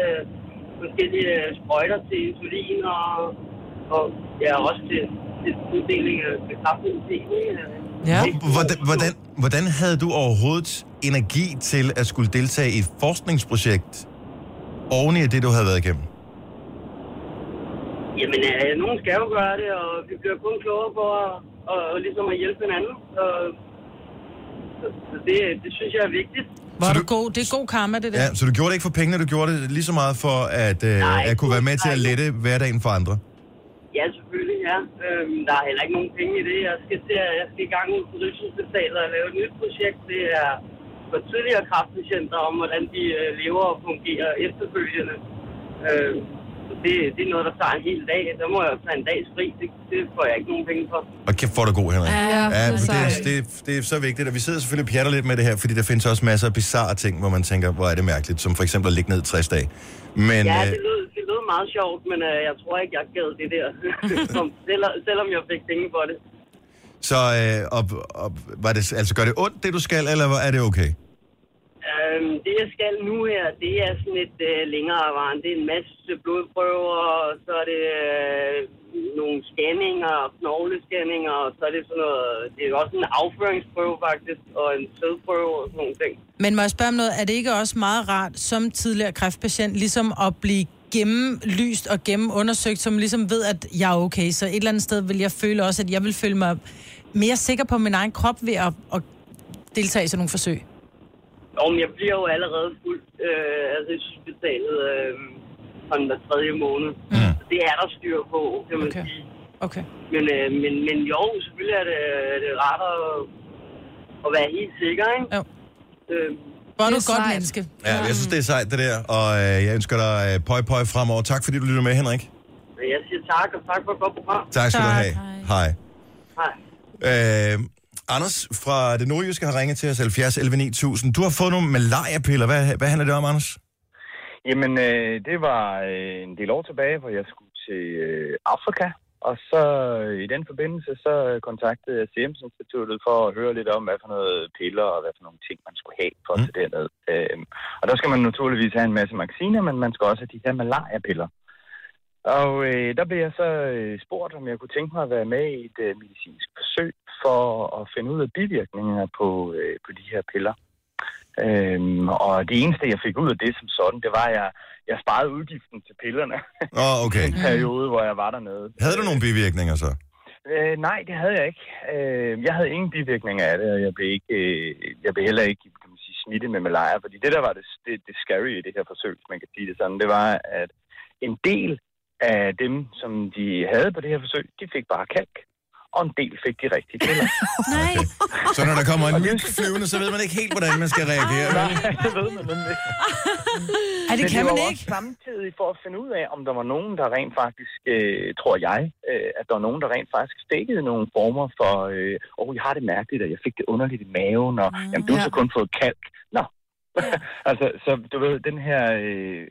forskellige sprøjter til insulin og, og ja, også til, til uddeling af til kraftmedicin.
Ja.
Hvordan, hvordan, hvordan havde du overhovedet energi til at skulle deltage i et forskningsprojekt oven i det, du havde været igennem?
Jamen, øh, nogen skal jo gøre det, og vi bliver kun klogere på at, og, og ligesom at hjælpe hinanden. Så, så, så det, det synes jeg er vigtigt.
Hvor
Så
er du
du-
god. Det er god karma, det der.
Ja, så du gjorde det ikke for pengene, du gjorde det lige så meget for at, øh,
Nej,
at kunne være med til at
nej.
lette hverdagen for andre.
Ja, selvfølgelig, ja. Øhm, der er heller ikke nogen penge i det. Jeg skal, til, at- jeg skal i gang ud på Rigshospitalet og lave et nyt projekt. Det er for tidligere kræftpatienter om, hvordan de øh, lever og fungerer efterfølgende. Øhm, så det, det er noget, der tager en hel dag. Der må jeg jo tage en dags fri. Det, det får jeg ikke nogen penge for.
Og kæft, hvor er du god, Henrik. Ja, men
altså.
det, det, det er så vigtigt, og vi sidder selvfølgelig og pjatter lidt med det her, fordi der findes også masser af bizarre ting, hvor man tænker, hvor er det mærkeligt, som for eksempel at ligge ned i 60 dage. Men,
Ja,
øh,
det lød, det lød meget sjovt, men øh, jeg tror ikke, jeg gad det der, som, selvom, selvom jeg fik penge for det.
så øh, og, og, var det, altså, gør det ondt, det du skal, eller er det okay?
Øhm, det, jeg skal nu her, det er sådan et øh, længere varen. Det er en masse blodprøver, og så er det øh, nogle scanninger, og knoglescanninger, og så er det sådan noget... Det er også en afføringsprøve, faktisk, og en sødprøve og sådan nogle ting.
Men må jeg spørge om noget? Er det ikke også meget rart som tidligere kræftpatient, ligesom at blive gennemlyst og gennemundersøgt, som ligesom ved, at jeg er okay? Så et eller andet sted vil jeg føle også, at jeg vil føle mig mere sikker på min egen krop ved at, at deltage i sådan nogle forsøg.
Og jeg bliver jo allerede fuldt øh, af Rigshospitalet øh, sådan hver tredje måned. Mm. Det er der styr på, kan man okay. sige.
Okay.
Men, øh, men, men jo, selvfølgelig er det, er det rart at, at være helt sikker, ikke?
Jo.
Øh,
Hvor er du
Det
et
er
godt
sejt.
menneske.
Ja, jeg synes, det er sejt, det der. Og øh, jeg ønsker dig øh, pøj pøj fremover. Tak, fordi du lytter med, Henrik.
men jeg siger tak, og tak for et godt program.
Tak skal du
Tak.
have. Hej.
Hej.
Øh, Anders fra det nordjyske har ringet til os 70 11 9000. Du har fået nogle malariapiller. Hvad, hvad handler det om, Anders?
Jamen, øh, det var øh, en del år tilbage, hvor jeg skulle til øh, Afrika. Og så øh, i den forbindelse, så øh, kontaktede jeg Serum Instituttet for at høre lidt om, hvad for noget piller og hvad for nogle ting, man skulle have for at
Mm.
tage derned. Øh, og der skal man naturligvis have en masse vacciner, men man skal også have de her malariapiller. Og øh, der blev jeg så øh, spurgt, om jeg kunne tænke mig at være med i et øh, medicinsk forsøg for at finde ud af bivirkninger på, øh, på de her piller. Øhm, og det eneste, jeg fik ud af det som sådan, det var, at jeg, jeg sparede udgiften til pillerne
Åh, oh, okay.
i en periode, hvor jeg var dernede.
Havde du nogle bivirkninger så?
Øh, nej, det havde jeg ikke. Øh, jeg havde ingen bivirkninger af det, og jeg blev, ikke, øh, jeg blev heller ikke kan man sige, smittet med malaria, fordi det, der var det, det, det scary i det her forsøg, hvis man kan sige det sådan, det var, at en del af dem, som de havde på det her forsøg, de fik bare kalk, og en del fik de rigtige piller.
Nej.
Så når der kommer en myg flyvende, så ved man ikke helt, hvordan man skal reagere.
Nej, det ved man nemlig.
Ej, det
Men
kan
det var
man
jo
ikke.
Også samtidig for at finde ud af, om der var nogen, der rent faktisk, øh, tror jeg, øh, at der var nogen, der rent faktisk stikkede nogle former for, øh, åh, jeg har det mærkeligt, og jeg fik det underligt i maven, og
Mm.
jamen, du har så kun fået kalk. Nå. altså, så du ved, den her øh,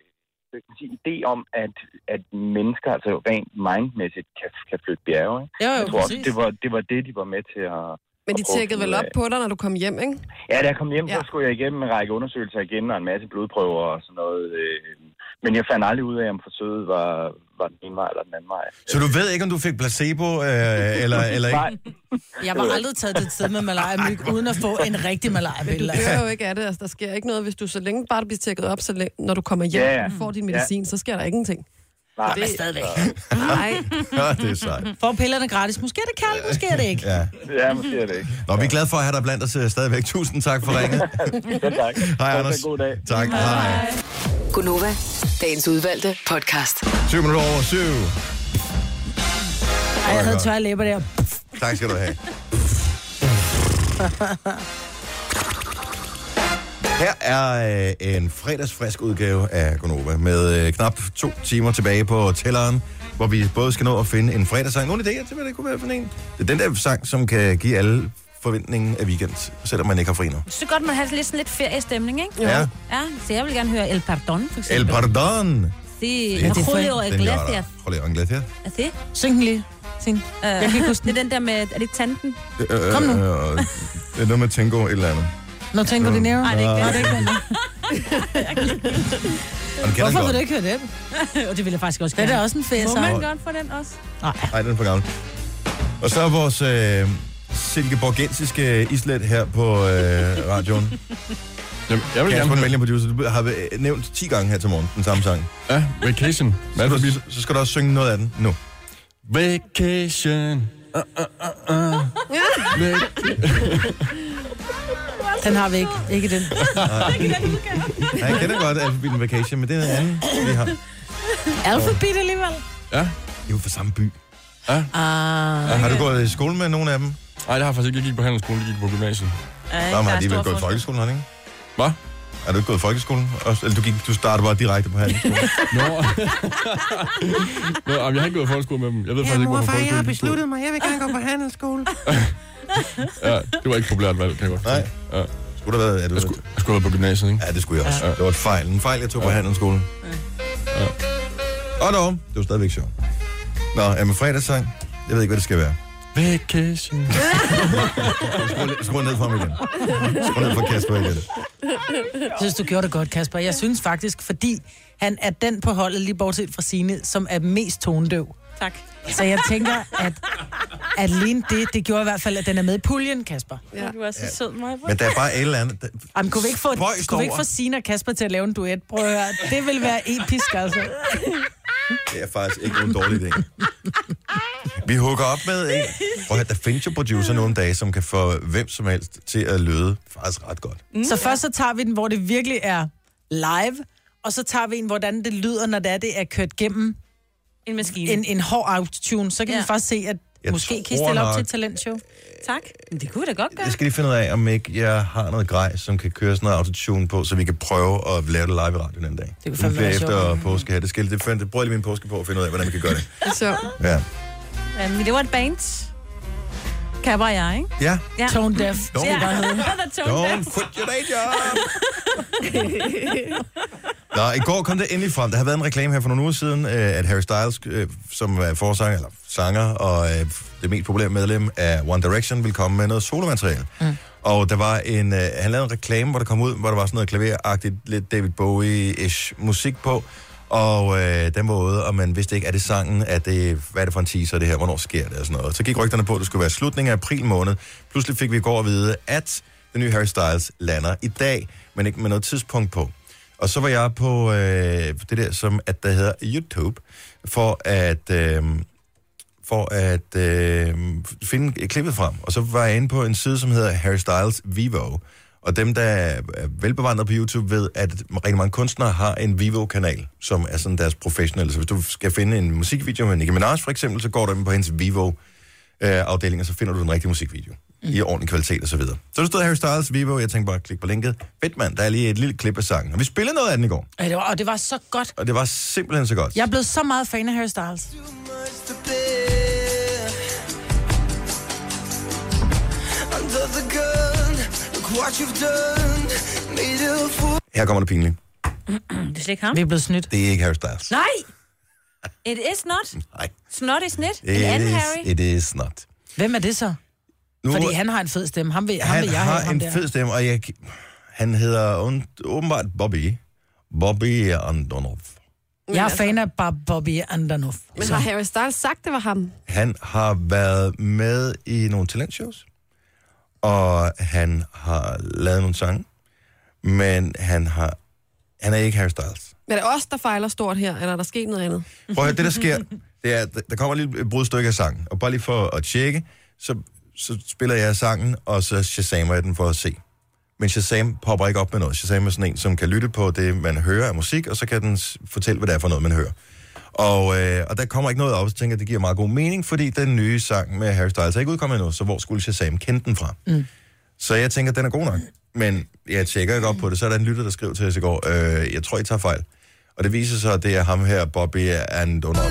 hvad kan man sige, idé om, at, at mennesker altså rent mindmæssigt kan, kan flytte bjerge, ikke?
Jo, jo,
Jeg tror også,
præcis.
det var, det var det, de var med til at...
Men de
at prøve at
tjekkede
finde
vel
ud
op
af.
på dig, når du kom hjem, ikke?
Ja, da jeg kom hjem, ja.
Ja.
så skulle jeg igennem en række undersøgelser igen, og en masse blodprøver og sådan noget. øh, Men jeg fandt aldrig ud af, om forsøget var, var den ene vej eller den anden vej.
Så du ved ikke, om du fik placebo øh, eller, eller ikke?
Nej,
Jeg var aldrig taget til et sted med malaria uden at få en rigtig
Du
malaria
dør jo ikke af det. Altså, der sker ikke noget, hvis du så længe bare bliver tjekket op, så længe, når du kommer hjem
Ja, ja.
og får din medicin, så sker der ingenting.
nej.
Det er
stadigvæk.
Nej,
Ja, det er sejt.
Får pillerne gratis? Måske er det kaldt, måske er det ikke.
Ja.
Ja, måske er det ikke.
Nå, vi er glade for at have dig blandt os øh, stadigvæk. Tusind tak for ringet.
Så tak.
Hej,
Fortsat
Anders.
God dag.
Tak. Hej.
Gunova, dagens udvalgte podcast.
7 minutter over 7.
Ej, jeg havde tørre læber der.
Tak skal du have. Her er øh, en fredagsfrisk udgave af Gonova med øh, knap to timer tilbage på tælleren, hvor vi både skal nå at finde en fredagssang. Nogle idéer til, hvad det kunne være for en? Det er den der sang, som kan give alle forventningen af weekend, selvom man ikke har fri nu.
Så godt, man har lidt sådan lidt feriestemning, ikke?
Ja.
Ja, så jeg vil gerne høre El Pardon, for
El
eksempel.
Pardon!
Sí,
Ja,
ja,
det
er
Julio
Den
Iglesias.
Julio Iglesias.
Er det?
Syng den lige. Syng.
Øh,
Jeg kan ikke huske
det er den der med, er det ikke tanten?
Øh,
Kom nu.
øh, øh, Det er noget med tango et eller andet.
Nå, tænker du det nævnt?
Nej, det er
det
ikke
ikke den.
Og den kender
Hvorfor vil
den godt.
du ikke høre den?
Og det vil jeg faktisk også
Det er
gerne.
da også en fæs.
Må man godt få den også?
Nej, den er for gammel. Og så er vores øh, silkeborgensiske islet her på øh, radioen.
Jamen, jeg vil gerne
Kasper,
høre...
den producer, du har øh, nævnt 10 gange her til morgen den samme sang.
Ja, vacation. Hvad
Så,
er det,
du,
vi...
så- så skal du også synge noget af den nu.
Vacation. Ah, Uh, uh, uh, uh. Vac-
Den har vi ikke. Ikke den.
Ja, jeg kender godt Alphabeten Vacation, men det er noget andet, vi har.
Alphabet alligevel.
ja.
Det er jo fra samme by.
Ah.
Ja, har du gået i skole med nogen af dem?
Nej, det har jeg faktisk ikke. Jeg gik på handelsskolen, jeg gik på gymnasiet.
Ja,
Nå, men har de vel gået i folkeskolen, har de ikke?
Hvad?
Er du ikke gået i folkeskolen? Også, eller du, gik, du startede bare direkte på handelsskolen?
Nå. Nå, jamen, jeg har ikke gået i folkeskole med dem. Jeg ved faktisk ikke, hvorfor folkeskole.
mig, jeg vil gerne gå på handelsskole.
Ja, det var ikke et populært valg, kan jeg godt
Nej.
forstå. Ja.
Skulle der være, er du,
Jeg skulle, jeg skulle have været på gymnasiet, ikke?
Ja, det skulle jeg også. Ja. Det var et fejl. En fejl, jeg tog på handelsskolen. Ja. Og dog, det var stadigvæk sjovt. Nå, er med fredagssang? Jeg ved ikke, hvad det skal være.
Vacation.
Skru, skru ned for mig igen. Skru ned for Kasper igen.
Jeg synes, du gjorde det godt, Kasper. Jeg synes faktisk, fordi han er den på holdet, lige bortset fra sine, som er mest tonedøv.
Tak.
Så jeg tænker, at alene det, det gjorde i hvert fald, at den er med i puljen, Kasper.
Ja. Du er så sød, Maja.
Men der er bare et eller andet... der-
Jamen, kunne vi ikke få,
Spøjst
kunne vi ikke
over.
få Sina og Kasper til at lave en duet? Prøv at høre. Det vil være episk, altså.
Det er faktisk ikke nogen dårlig idé. Vi hugger op med en. Prøv at høre, der findes jo producer nogle dage, som kan få hvem som helst til at lyde faktisk ret godt.
Mm, så først så tager vi den, hvor det virkelig er live, og så tager vi en, hvordan det lyder, når det er, det er kørt gennem
en maskine.
En, en hård autotune. Så kan ja. vi faktisk se, at
Jeg
jeg måske kan I
tror
stille op
nok-
til et talentshow.
Tak. Men det kunne vi da godt gøre.
Jeg skal lige finde ud af, om ikke jeg har noget grej, som kan køre sådan noget autotune på, så vi kan prøve at lave det live i radioen en dag. Det
kunne fandme være
efter
sjovt.
påske her. Det, skal, det, find- det bruger jeg lige min påske på at finde ud af, hvordan vi kan gøre det.
Så.
Ja.
Ja, men det var et band. Kan bare jeg, ikke?
Ja.
Ja.
Tone deaf, skal det bare hedde.
Don't quit your day job. Nå, i går kom det endelig frem. Der har været en reklame her for nogle uger siden, øh, at Harry Styles, øh, som er forsanger, eller sanger, og øh, det mest populære medlem af One Direction, ville komme med noget solomateriale. Mm. Og der var en, øh, han lavede en reklame, hvor der kom ud, hvor der var sådan noget klaveragtigt, lidt David Bowie-ish musik på. Og øh, den var ude, og man vidste ikke, er det sangen, er det, hvad er det for en teaser, det her, hvornår sker det og sådan noget. Så gik rygterne på, at det skulle være slutningen af april måned. Pludselig fik vi i går at vide, at den nye Harry Styles lander i dag, men ikke med noget tidspunkt på. Og så var jeg på øh, det der, som at der hedder YouTube, for at, øh, for at øh, finde klippet frem. Og så var jeg inde på en side, som hedder Harry Styles Vivo. Og dem, der er velbevandret på YouTube, ved, at rigtig mange kunstnere har en Vivo-kanal, som er sådan deres professionelle. Så hvis du skal finde en musikvideo med Nicki Minaj for eksempel, så går du ind på hendes Vivo-afdeling, og så finder du den rigtige musikvideo mm. i ordentlig kvalitet og Så, videre. så der stod Harry Styles Vivo, og jeg tænkte bare, klik på linket. Fedt mand, der er lige et lille klip af sangen. Og vi spillede noget af den i går,
Ej, det var, og det var så godt.
og det var simpelthen så godt.
Jeg er blevet så meget fan af Harry Styles.
Under the gun, look what you've done. Made a fool.
Her kommer det pinligt.
Det er slet ikke ham.
Vi er blevet snydt.
Det er ikke Harry Styles.
Nej! It is not.
Nej.
Snot is net. En
It
anden
is,
Harry.
it is not.
Hvem er det så?
Nu-
Nu, Fordi han har en fed stemme. Ham vil, ham
Han
vil jeg
har
have, ham
en
der.
fed stemme, og jeg, han hedder und- åbenbart Bobby. Bobby Andonov.
Jeg er fan af Bob Bobby Andanov.
Men har Harry Styles sagt, det var ham?
Han har været med i nogle talentshows, og han har lavet nogle sange, men han, har, han er ikke Harry Styles.
Men er det os, der fejler stort her, eller er der sket noget andet?
Prøv at høre, det der sker, det er, at der kommer lige et brudstykke af sangen, og bare lige for at tjekke, så, så spiller jeg sangen, og så shazamer jeg den for at se. Men Shazam popper ikke op med noget. Shazam er sådan en, som kan lytte på det, man hører af musik, og så kan den s- fortælle, hvad det er for noget, man hører. Og, øh, og der kommer ikke noget op, så tænker jeg, det giver meget god mening, fordi den nye sang med Harry Styles er ikke udkommet endnu, så hvor skulle Shazam kende den fra?
Mm.
Så jeg tænker, den er god nok. Men jeg tjekker ikke op på det. Så er der en lytter, der skrev til os i går, øh, jeg tror, I tager fejl. Og det viser sig, at det er ham her, Bobby Andonov,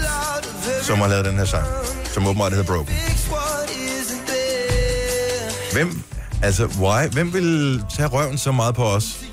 som har lavet den her sang, som åbenbart hedder Broken.
Fix what isn't there.
Hvem, altså, why? Hvem vil tage røven så meget på os?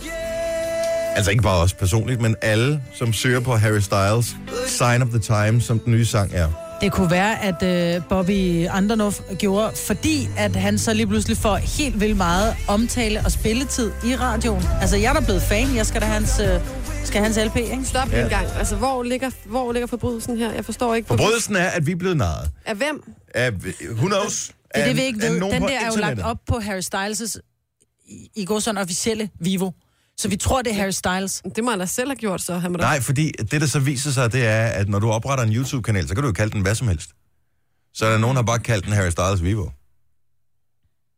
Altså ikke bare os personligt, men alle, som søger på Harry Styles, Sign of the Time, som den nye sang er.
Det kunne være, at øh, Bobby Andanov gjorde, fordi at han så lige pludselig får helt vildt meget omtale og spilletid i radioen. Altså, jeg er da blevet fan. Jeg skal da hans, øh, skal hans LP, ikke?
Stop ja. en gang. Altså, hvor ligger, hvor ligger forbrydelsen her? Jeg forstår ikke.
Forbrydelsen er, at vi er blevet narret.
Af hvem?
Af, who knows?
Det er
Af-
Øhm,
det, vi ikke
af
ved. Den
nogen
der
på
er jo lagt
internettet.
op på Harry Styles' i, i går sådan officielle Vivo. Så vi tror, det er Harry Styles.
Det må han da selv have gjort, så. Han må da...
Nej, fordi det, der så viser sig, det er, at når du opretter en YouTube-kanal, så kan du jo kalde den hvad som helst. Så er der nogen, der har bare kaldt den Harry Styles Vivo.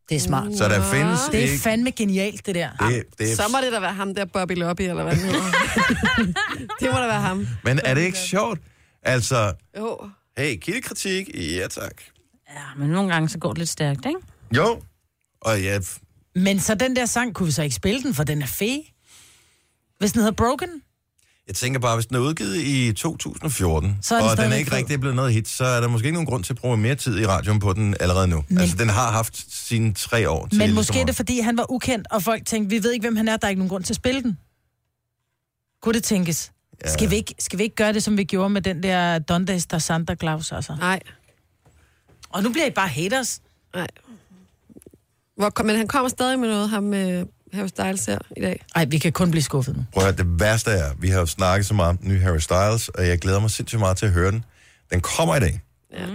Det er smart.
Så der findes
Det er
ikke-
fandme genialt, det der.
Det, det
Så må det da være ham der, Bobby Lobby, eller hvad han hedder. det må da være ham.
Men er det ikke sjovt? Altså,
Jo.
hey, kildekritik, ja tak.
Ja, men nogle gange så går det lidt stærkt, ikke?
Jo, og ja,
Men så den der sang, kunne vi så ikke spille den, for den er fed. Hvis den hedder Broken,
jeg tænker bare, hvis den er udgivet i 2014,
Så er den
og den er
stadigvæk
ikke
fed.
rigtig blevet noget hit, så er der måske ikke nogen grund til at bruge mere tid i radioen på den allerede nu. Men, altså, den har haft sine tre år. til
men
ligesom
måske er
at-
det, fordi han var ukendt, og folk tænkte, vi ved ikke, hvem han er, der er ikke nogen grund til at spille den. Kunne det tænkes? Ja. Skal, vi ikke, skal vi ikke gøre det, som vi gjorde med den der Dondes der Santa Claus? Altså?
Nej.
Og nu bliver I bare haters.
Nej. Hvor, kom- men han kommer stadig med noget, ham øh, Harry Styles her i dag.
Nej, vi kan kun blive skuffet nu.
Prøv at høre, det værste er, vi har jo snakket så meget om den nye Harry Styles, og jeg glæder mig sindssygt meget til at høre den. Den kommer i dag.
Ja.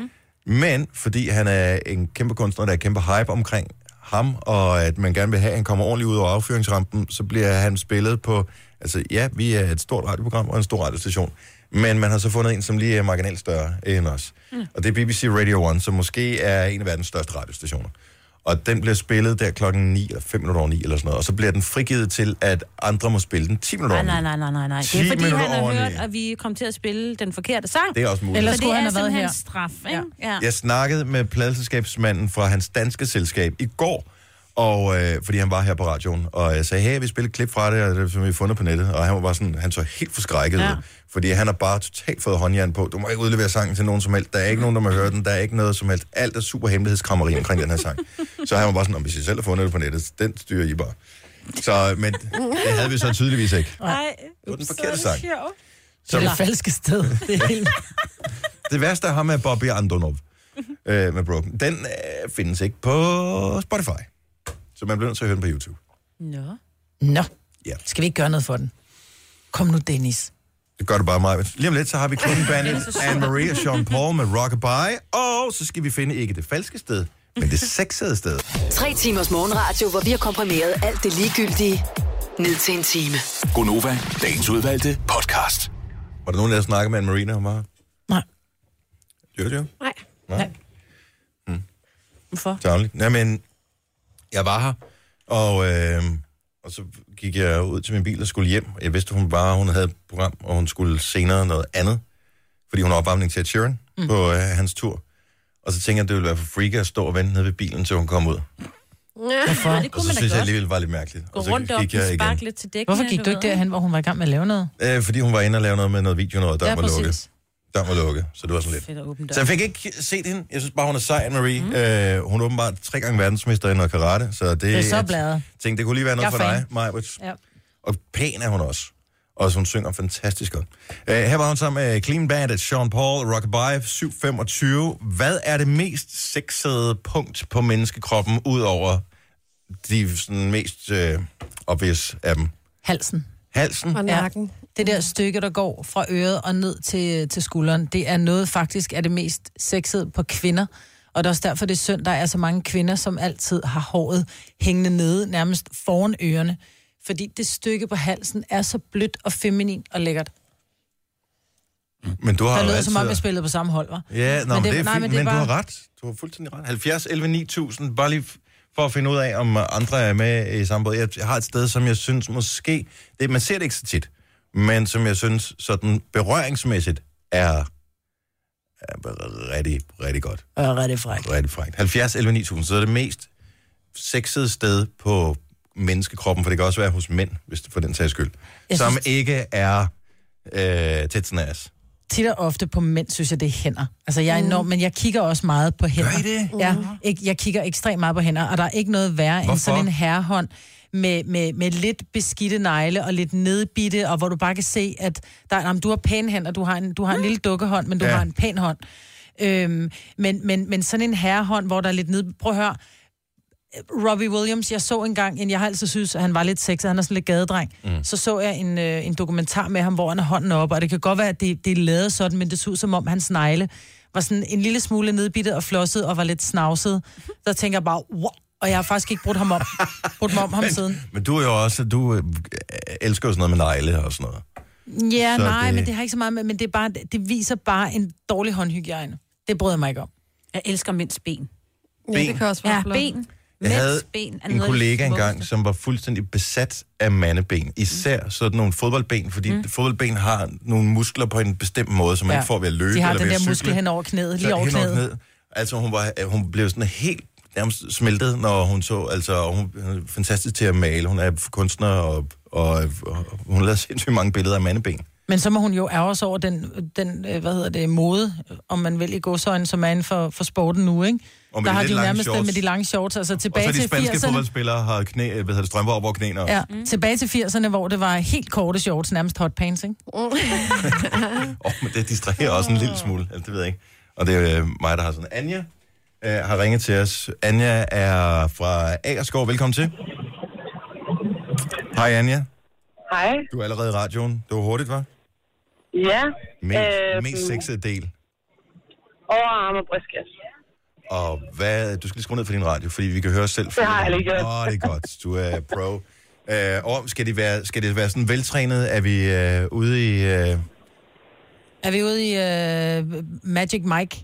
Men fordi han er en kæmpe kunstner, der er kæmpe hype omkring ham, og at man gerne vil have, at han kommer ordentligt ud over affyringsrampen, så bliver han spillet på... Altså ja, vi er et stort radioprogram og en stor radiostation, men man har så fundet en, som lige er marginalt større end os. Mm. Og det er BBC Radio 1, som måske er en af verdens største radiostationer. Og den bliver spillet der klokken 9 eller 5 minutter over 9 eller sådan noget, og så bliver den frigivet til, at andre må spille den 10 minutter
Nej,
over 9.
nej, nej, nej, nej, nej. Det
10
er fordi, han
minutter
har
over
hørt,
ni.
at vi kom til at spille den forkerte sang.
Det er også muligt. Ellers
Så
skulle
det
han
er
have været
simpelthen
her.
straf, ikke? Ja.
Jeg snakkede med pladeselskabsmanden fra hans danske selskab i går, og, øh, fordi han var her på radioen, og jeg sagde, hey, vi spiller et klip fra det, og det, som vi har fundet på nettet, og han var bare sådan, han så helt forskrækket ja.
Ja.
ud, fordi han har bare totalt fået håndjern på, du må ikke udlevere sangen til nogen som helst, der er ikke nogen, der må høre den, der er ikke noget som helst, alt er super hemmelighedskrammeri omkring den her sang. Så han var bare sådan, om hvis I selv har fundet det på nettet, den styrer I bare. Så, men det havde vi så tydeligvis ikke.
Nej.
Det var den forkerte sang.
Det er
Så-
det falske sted. Det er helt...
Det værste af ham er Bobby Andonov øh, med Broken. Den øh, findes ikke på Spotify. Så man bliver nødt til at høre den på YouTube.
Nå. Nå.
Ja.
Skal vi ikke gøre noget for den? Kom nu, Dennis.
Det gør det bare meget. Lige om lidt, så har vi Clean Bandit, Anne-Marie og Sean Paul med Rockabye. Og så skal vi finde ikke det falske sted, men det sexede sted.
Tre timers morgenradio, hvor vi har komprimeret alt det ligegyldige ned til en time.
Gonova, dagens udvalgte podcast.
Var der nogen, der snakkede med Anne-Marie, når hun var her?
Nej.
Jojo?
Nej.
Nej.
Hvorfor?
Tavligt. Nej, men jeg var her, og, øh, og så gik jeg ud til min bil og skulle hjem. Jeg vidste, hun var, hun havde et program, og hun skulle senere noget andet, fordi hun har opvarmning til Ed Sheeran mm. på øh, hans tur. Og så tænkte jeg, det ville være for freak at stå og vente nede ved bilen, til hun kom ud.
Hvorfor?
Ja, det
Og
kunne
så
man da
synes jeg
godt.
alligevel, det var lidt mærkeligt.
Gå
og så
rundt om
gik
og
jeg igen.
sparke lidt til dækken.
Hvorfor gik du ikke derhen, hvor hun var i gang med at lave noget?
Øh, fordi hun var inde og lave noget med noget video, noget, og der
Ja,
ja, var lukket.
præcis.
Der var lukket, så det var sådan lidt.
Fedt at åbne døren.
Så jeg fik ikke set hende. Jeg synes bare, hun er sej, Anne-Marie.
Mhm.
Mm. Øh, hun er åbenbart tre gange verdensmester i noget karate, så det,
Det er så
jeg
bladet.
tænkte, det kunne lige være noget
Jeg er
for dig,
fan.
Majbrit.
Ja.
Og pæn er hun også. Og hun synger fantastisk godt. Øh, her var hun sammen med Clean Bandit, Sean Paul, Rockabye, 725. Hvad er det mest sexede punkt på menneskekroppen, ud over de sådan, mest øh, obvious af dem?
Halsen.
Halsen?
Og nakken. Ja.
Mm, Det der stykke, der går fra øret og ned til, til skulderen, det er noget faktisk af det mest sexede på kvinder. Og det er også derfor, det er synd, der er så mange kvinder, som altid har håret hængende nede, nærmest foran ørerne. Fordi det stykke på halsen er så blødt og feminin og lækkert.
Men du har
Der
jo
lød
altid...
som om, jeg spillede på samme hold, var.
Ja, nå, men det, det er
nej,
fint, men,
det er
du
bare-
har ret. Du har fuldstændig ret. 70, 11, 9000, bare lige f- for at finde ud af, om øh, andre er med i samme båd. Jeg jeg har et sted, som jeg synes måske, det, man ser det ikke så tit, men som jeg synes sådan berøringsmæssigt er, er rigtig, rigtig godt.
Og rigtig fræk.
Rigtig frækt. 70, 11, 9000, så er det mest sexede sted på menneskekroppen, for det kan også være hos mænd, hvis det for den sags skyld,
Jeg
som
synes-
ikke er øh, tæt as.
tit og ofte på mænd, synes jeg, det er hænder. Altså, jeg er enorm, mm. men jeg kigger også meget på hænder.
Gør I det?
Ja, ikke, jeg kigger ekstremt meget på hænder, og der er ikke noget værre Hvorfor?
Hvorfor?
end sådan en herrehånd med, med, med lidt beskidte negle og lidt nedbitte, og hvor du bare kan se, at der, jamen, du har pæne hænder, du har en, du har en lille dukkehånd, men du
Ja.
ja. har en pæn hånd. Øhm, men, men, men sådan en herrehånd, hvor der er lidt ned... Prøv at høre, Robbie Williams, jeg så engang, en jeg har altid synes, at han var lidt sexet, han er sådan lidt gadedreng. Mm. Så så jeg en, øh, en dokumentar med ham, hvor han har hånden op, og det kan godt være, at det, det er lavet sådan, men det så ud som om hans negle var sådan en lille smule nedbittet og flosset og var lidt snavset.
Mhm.
Der tænker jeg bare, wow, og jeg har faktisk ikke brudt ham om, brudt mig om ham siden.
Men du er jo også, du øh, elsker jo sådan noget med negle og sådan noget.
Ja,
Så
nej,
det-
det... men det har ikke så meget med, men det, er bare, det viser bare en dårlig håndhygiejne. Det bryder jeg mig ikke om.
Jeg elsker mænds ben.
Ja, det Ben. kan
også
være ja, ben.
Jeg
Mænds
havde
ben er noget
en
af det
kollega engang,
smukkeste.
som var fuldstændig besat af mandeben. Især mm. sådan nogle fodboldben, fordi mm. fodboldben har nogle muskler på en bestemt måde, som man
Ja.
ikke får ved at løbe
De har
eller
den
ved
der
at
muskel
cykle.
hen over knæet,
Så
lige over
hen
knæet.
knæet. Altså hun, var, øh, hun blev sådan helt nærmest smeltet, når hun så, altså og hun hun er fantastisk til at male. Hun er kunstner, og, og, og, og hun lavede sindssygt mange billeder af mandeben.
Men så må hun jo ærge sig over den, den øh, hvad hedder det, mode, om man vil i godsøjne, som er inden for, for sporten nu, ikke?
Og med
der
de
har
lidt
de jo
lange
nærmest
shorts.
shorts. med de lange shorts, altså
Og
tilbage
så de spanske
til 80'erne.
fodboldspillere har knæ, øh, hvad hedder det, strømper op over knæene. og-
Ja, mm. tilbage til 80'erne, hvor det var helt korte shorts, nærmest hotpants, ikke?
Åh, oh, men det distraherer også en lille smule. Altså, det ved jeg ikke. Og det er øh, mig, der har sådan, Anja, øh, har ringet til os. Anja er fra Agerskov. Velkommen til. Hej, Anja.
Hej.
Du er allerede i radioen. Det var hurtigt, var?
Ja.
Mest,
øhm,
øh, mest sexede del.
Overarm og brystkasse.
Og hvad, du skal lige skrue ned for din radio, fordi vi kan høre os selv.
Det har jeg lige gjort.
Åh, det er godt. Du er pro. Øh, og skal det, være, skal det være sådan veltrænet? Er vi øh, ude i... Øh,
Er vi ude i øh, Magic Mike?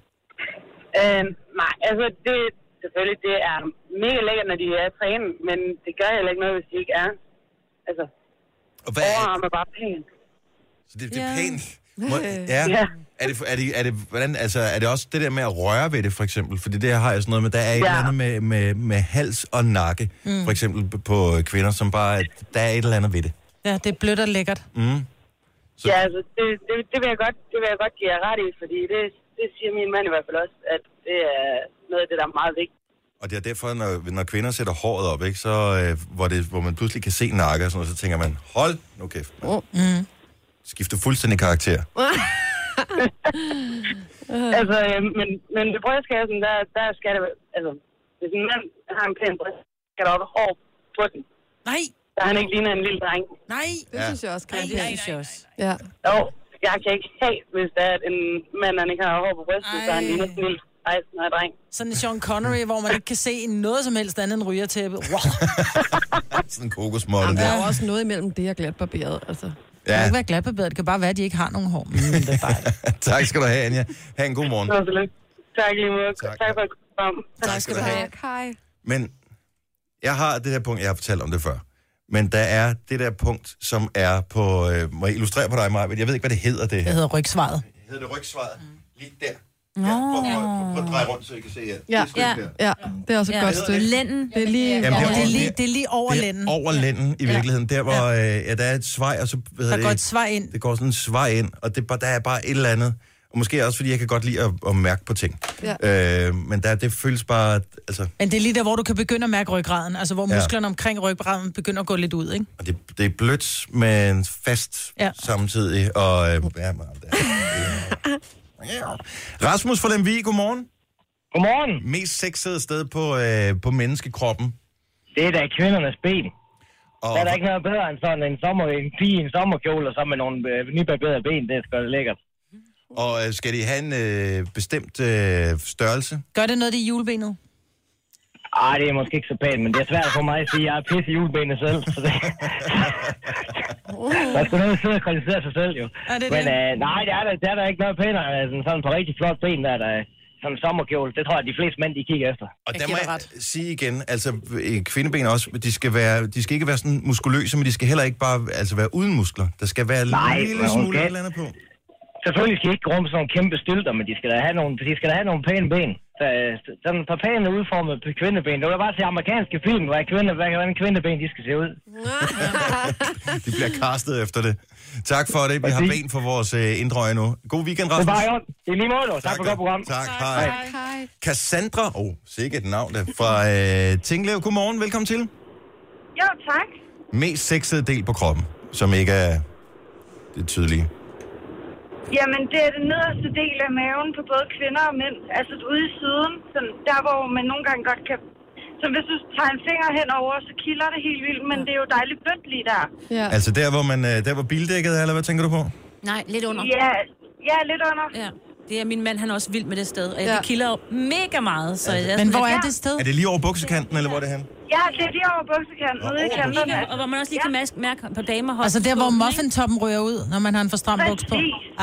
Øhm, nej, altså det, selvfølgelig, det er mega lækkert, når de er trænet, men det gør heller ikke noget, hvis de ikke er. Altså,
og hvad
overarm er bare pænt.
Så det, det er pænt. Må,
Øh.
ja. Er det, er, det, er, det, hvordan, altså, er det også det der med at røre ved det, for eksempel? Fordi det har jeg sådan noget med, der er et
Ja.
eller andet med, med, med hals og nakke,
Mm.
mm. for eksempel på kvinder, som bare, der er et eller andet ved det.
Ja, det er blødt og lækkert.
Mm.
Så... Ja, altså, det, det, det, vil jeg godt, det vil jeg godt give jer ret i, fordi det, det siger min mand i hvert fald også, at det er noget af det, der er meget vigtigt.
Og det er derfor, når, når kvinder sætter håret op, ikke, så, øh, hvor, det, hvor man pludselig kan se nakke og sådan noget, så tænker man, hold nu kæft, man
Oh.
Mm.
skifter fuldstændig karakter.
altså, øh, men, men ved brystkassen, der, der skal det, altså, hvis en mand har en pæn bryst, skal der også hår på den.
Nej.
Så han ikke ligner en lille dreng.
Nej.
Det synes jeg også kan være pænt.
synes jeg også.
Ja.
Jo, jeg kan ikke have, hvis der er at en mand, han ikke har hår på brystet, så han ligner sådan en lille 16 dreng.
Sådan en Sean Connery, hvor man ikke kan se noget som helst andet end rygertæppe. Wow.
sådan en kokosmål.
Jamen, der er jo også noget imellem det og glatbarberet, altså.
Ja. Det kan ikke være glatbarberet. Det kan bare være, at de ikke har nogen hår. Mm, det er dejligt.
tak skal du have, Anja. Ha' en god morgen.
Så lidt. Tak lige måde. Tak, tak for at komme frem.
Tak skal du have.
Hej.
Men jeg har det her punkt, jeg har fortalt om det før. Men der er det der punkt, som er på... Øh, må jeg illustrere på dig, Maja? Jeg ved ikke, hvad det hedder, det her.
Det hedder rygsvaret.
hedder det rygsvaret. Mm. Lige der.
Nå.
Prøv at dreje rundt, så I kan se her. Det
Ja,
er sgu
ja,
der.
ja, det er også et
Ja.
godt stykke.
Lænden.
Det er lige...
Jamen, det er over-
Det er lige over
det er
lænden.
Over lænden, i virkeligheden. Der, hvor øh, ja, der er et svej, og så... Hvad
Der
hedder
går
det?
et svar ind.
Det går sådan en svej ind, og det, er bare- der er bare et eller andet. Og måske også, fordi jeg kan godt lide at, at mærke på ting. Ja. Øh, men der, det føles bare... Altså,
Men det er lige der, hvor du kan begynde at mærke ryggraden. Altså, hvor
Ja.
musklerne omkring ryggraden begynder at gå lidt ud, ikke?
og det, det er blødt, men fast
Ja.
ja. samtidig. Og, øh, ja, man, der. Rasmus fra Lemvig, godmorgen.
Godmorgen.
Mest sexede sted på, øh, på menneskekroppen.
Det er da kvindernes ben.
Og,
Der er der ikke noget bedre end sådan en, sommer, en pige i en sommerkjole, og så med nogle øh, nybarberede ben. Det er sgu da lækkert.
og øh, skal de have en øh, bestemt øh, størrelse?
Gør det noget i julebenet?
Ej, det er måske ikke så pænt, men det er svært for mig at sige, at jeg er pisse i julebenet selv. Så det... Man skal nødt til at sidde og kritisere sig selv, jo.
Er det
men
det?
Øh, nej, det er, der, det er der ikke noget pænere end sådan på rigtig flot ben, der, er der sådan en sommerkjole. Det tror jeg, de fleste mænd, de kigger efter.
Og der må jeg sige igen, altså øh, kvindeben også, de skal, være, de skal ikke være sådan muskuløse, men de skal heller ikke bare altså, være uden muskler. Der skal være
Nej,
en lille
men
smule
okay.
et eller andet på.
Selvfølgelig skal de ikke gå rundt med sådan nogle kæmpe stylter, men de skal da have nogle, de skal da have nogle pæne ben. Så, øh, sådan et par pæne udformede p- kvindeben. Det var bare til amerikanske film, hvad kvinde, hvad, hvordan kvindeben de skal se ud.
De bliver kastet efter det. Tak for det. Vi har ben for vores øh, indre øje nu. God weekend, Rasmus.
Det er bare i orden. Det er lige måde, dog. Tak, for godt program.
Tak, hej. Cassandra, åh, oh, sikkert et navn der, fra øh, Tinglev. Godmorgen, velkommen til.
Jo, tak.
Mest sexede del på kroppen, som ikke er det tydelige.
Jamen, det er den nederste del af maven på både kvinder og mænd. Altså ude i siden, sådan, der hvor man nogle gange godt kan... Så hvis du tager en finger henover, så kilder det helt vildt, men det er jo dejligt blødt lige der.
Ja. Altså der, hvor, man, øh, der, hvor bildækket er, eller hvad tænker du på?
Nej, lidt under.
Ja, ja lidt under.
Ja. Det er min mand, han er også vild med det sted. Og jeg,
Ja.
ja. det kilder jo mega meget. Så jeg,
Men hvor er det
sted?
Er det lige over buksekanten, eller hvor er det hen?
Ja, det er lige over buksekanten, ude i kanterne.
Og hvor man også lige kan mærke, mærke på damer.
Altså der, hvor muffintoppen ryger ud, når man har en for stram buks på.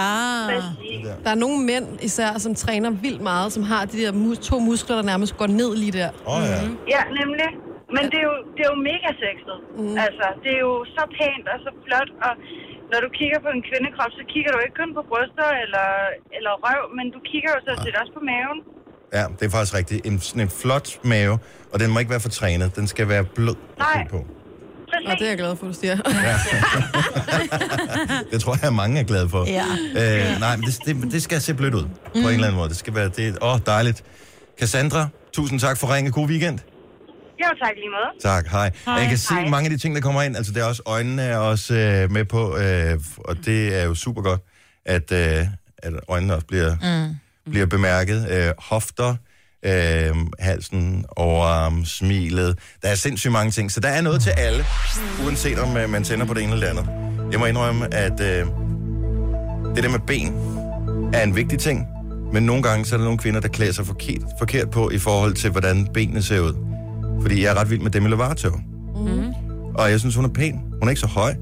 Ah. Der er nogle mænd især, som træner vildt meget, som har de der mus- to muskler, der nærmest går ned lige der.
Åh oh, ja.
Ja, nemlig. Men det er jo, det er jo mega sexet. Mm. Altså, det er jo så pænt og så flot, og når du kigger på en kvindekrop, så kigger du ikke kun på bryster eller, eller røv, men du kigger jo sådan set også på maven.
Ja, det er faktisk rigtigt. En, sådan en flot mave, og den må ikke være for trænet. Den skal være blød at
Nej.
se på.
Og det er jeg glad for, du siger.
Det tror jeg, mange er glade for.
Ja.
Øh, nej, men det, det, det skal se blødt ud på en eller anden måde. Det skal være det. Åh, oh, dejligt. Cassandra, tusind tak for ringe. God weekend.
Jo, tak lige måde.
Tak, hej.
Hej.
hej. Jeg kan se
Hej.
hej. mange af de ting, der kommer ind. Altså, det er også øjnene er også øh, med på, øh, og det er jo super godt, Mm. at, øh, at øjnene også bliver, mm. bliver bemærket. Øh, hofter, øh, halsen, overarm, smilet. Der er sindssygt mange ting, så der er noget til alle, uanset om øh, man tænder på det ene eller det andet. Jeg må indrømme, at øh, det der med ben er en vigtig ting, men nogle gange så er der nogle kvinder, der klæder sig forkert, forkert på i forhold til, hvordan benene ser ud. Fordi jeg er ret vild med dem eller varetøv.
Mm.
Og jeg synes, hun er pæn. Hun er ikke så høj.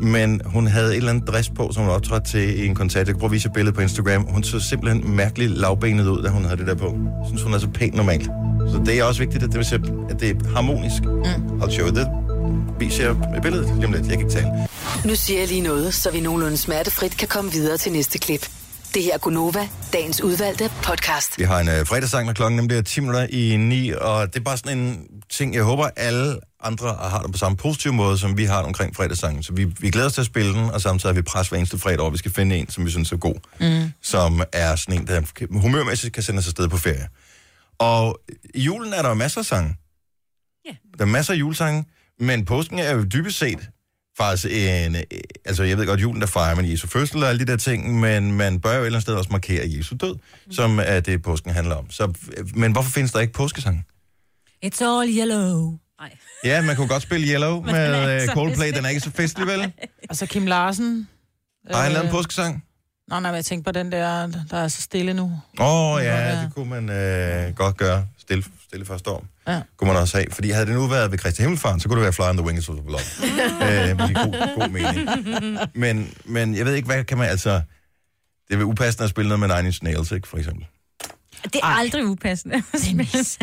Men hun havde et eller andet dress på, som hun optrådte til i en koncert. Jeg kan prøve at vise jer et billede på Instagram. Hun så simpelthen mærkeligt lavbenet ud, da hun havde det der på. Jeg synes, hun er så pæn normalt. Så det er også vigtigt, at det, ser- at det er harmonisk. Mm. Og show det viser jeg et billede lige om lidt. Jeg kan ikke tale.
Nu siger jeg lige noget, så vi nogenlunde smertefrit kan komme videre til næste klip. Det her er Gunova, dagens udvalgte podcast.
Vi har en øh, fredagssang, når klokken nemlig er 10 minutter i 9, og det er bare sådan en ting, jeg håber, alle andre har det på samme positive måde, som vi har det omkring fredagssangen. Så vi, vi glæder os til at spille den, og samtidig har vi pres hver eneste fredag, og vi skal finde en, som vi synes er god,
Mm.
som er sådan en, der humørmæssigt kan sende os afsted på ferie. Og i julen er der jo masser af sange. Yeah. Der er masser af julesange, men påsken er jo dybest set faktisk en... øh, Altså, jeg ved godt, julen der fejrer man Jesu fødsel og alle de der ting, men man bør jo et eller andet sted også markere Jesu død,
Mhm.
mm. som er det, påsken handler om. Så, øh, men hvorfor findes der ikke påskesang?
It's all yellow.
Ja, man kunne godt spille Yellow
Men den er
med
ikke
øh,
så
Coldplay.
festlig.
Den er ikke så festlig, vel?
Og så Altså, Kim Larsen.
Har han
Øh,
lavet en påskesang?
Nå, nej, men jeg tænkte på den der, der er så stille nu.
Åh oh, ja, det kunne man øh, godt gøre. Stille, stille for storm.
Ja.
Kunne man også have. Fordi havde det nu været ved Christi Himmelfarten, så kunne det være Fly on the Wings of the Love. øh, men i god, god mening. Men, men jeg ved ikke, hvad kan man altså... Det er vel upassende at spille noget med Nine Inch Nails, ikke, for eksempel.
Det er Ej. aldrig upassende. Dennis.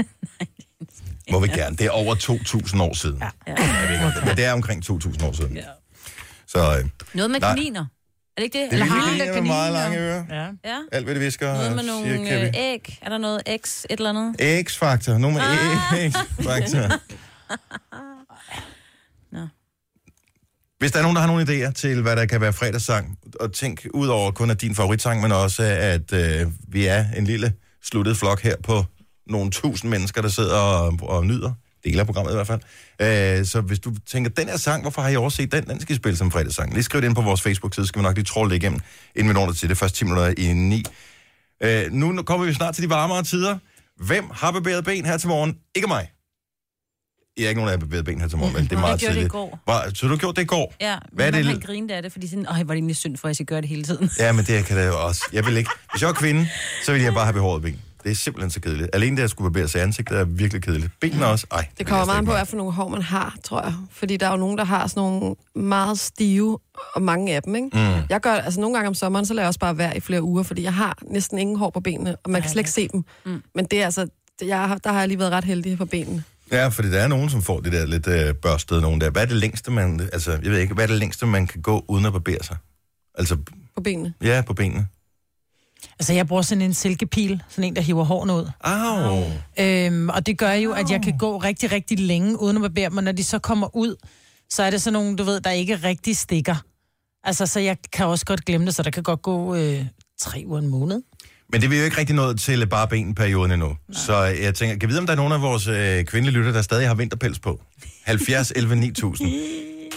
Må vi gerne. Det er over 2.000 år siden. Ja. Jeg ved ikke, om det- men det er omkring 2.000 år siden. Ja. Så øh,
Noget med
Nej.
kaniner. Er det ikke det?
Det er vilde kaniner med meget lange ører.
Ja.
ja.
alt hvad det visker,
Noget med nogle
siger Kevin.
øh, æg. Er der noget X, et eller andet?
X-faktor. Nogen med
Ah.
X-faktor. Hvis der er nogen, der har nogle idéer til, hvad der kan være fredagssang, og tænk ud over kun at din favoritsang, men også at øh, vi er en lille sluttet flok her på nogle tusind mennesker, der sidder og, og nyder dele af programmet i hvert fald. Øh, så hvis du tænker, den her sang, hvorfor har I overset den? Den skal I spille som fredagssang. Lige skriv det ind på vores Facebook-side, så skal vi nok lige trolle det igennem, inden vi når det til det første 10 minutter i 9. Øh, nu nu kommer vi snart til de varmere tider. Hvem har bevæget ben her til morgen? Ikke mig. Jeg er ikke nogen, der har bevæget ben her til morgen, men det er
Nå, jeg
meget
gjorde det i
tidligt.
går.
Var, så du gjorde det i går?
Ja, men
Hvad er det?
man kan grine af det, fordi sådan, Øj, hvor er det egentlig synd for, at jeg skal gøre det hele tiden.
Ja, men det kan det jo også. Jeg vil ikke. Hvis jeg var kvinde, så ville jeg bare have behåret ben. Det er simpelthen så kedeligt. Alene det at skulle barbere sig i ansigtet er virkelig kedeligt. Benene også. Ej,
Det
vil jeg
kommer
slet
meget an
ikke
på, hvad for nogle hår man har, tror jeg. Fordi der er jo nogen, der har sådan nogle meget stive, og mange af dem, ikke?
Mm.
Jeg gør, altså nogle gange om sommeren, så lader jeg også bare være i flere uger, fordi jeg har næsten ingen hår på benene, og man kan slet ikke se dem. Mm. Men det er altså, det- jeg har, der har jeg lige været ret heldig på benene.
Ja, fordi der er nogen, som får det der lidt øh, børstede nogen der. Hvad er det længste, man... Altså, jeg ved ikke, hvad er det længste, man kan gå uden at barbere sig? Altså,
På benene.
ja, på benene.
Altså, jeg bruger sådan en silkepil, sådan en, der hiver hårene ud.
Au.
Øhm, og det gør jo, at jeg kan gå rigtig, rigtig længe uden at barbere mig. Når de så kommer ud, så er det sådan nogle, du ved, der ikke rigtig stikker. Altså, så jeg kan også godt glemme det, så der kan godt gå øh, tre uger en måned.
Men det er vi jo ikke rigtig nået til øh, bare benperioden endnu. Nej. Så jeg tænker, kan vi vide, om der er nogen af vores øh, kvindelige lytter, der stadig har vinterpels på? 70, 11, 9000.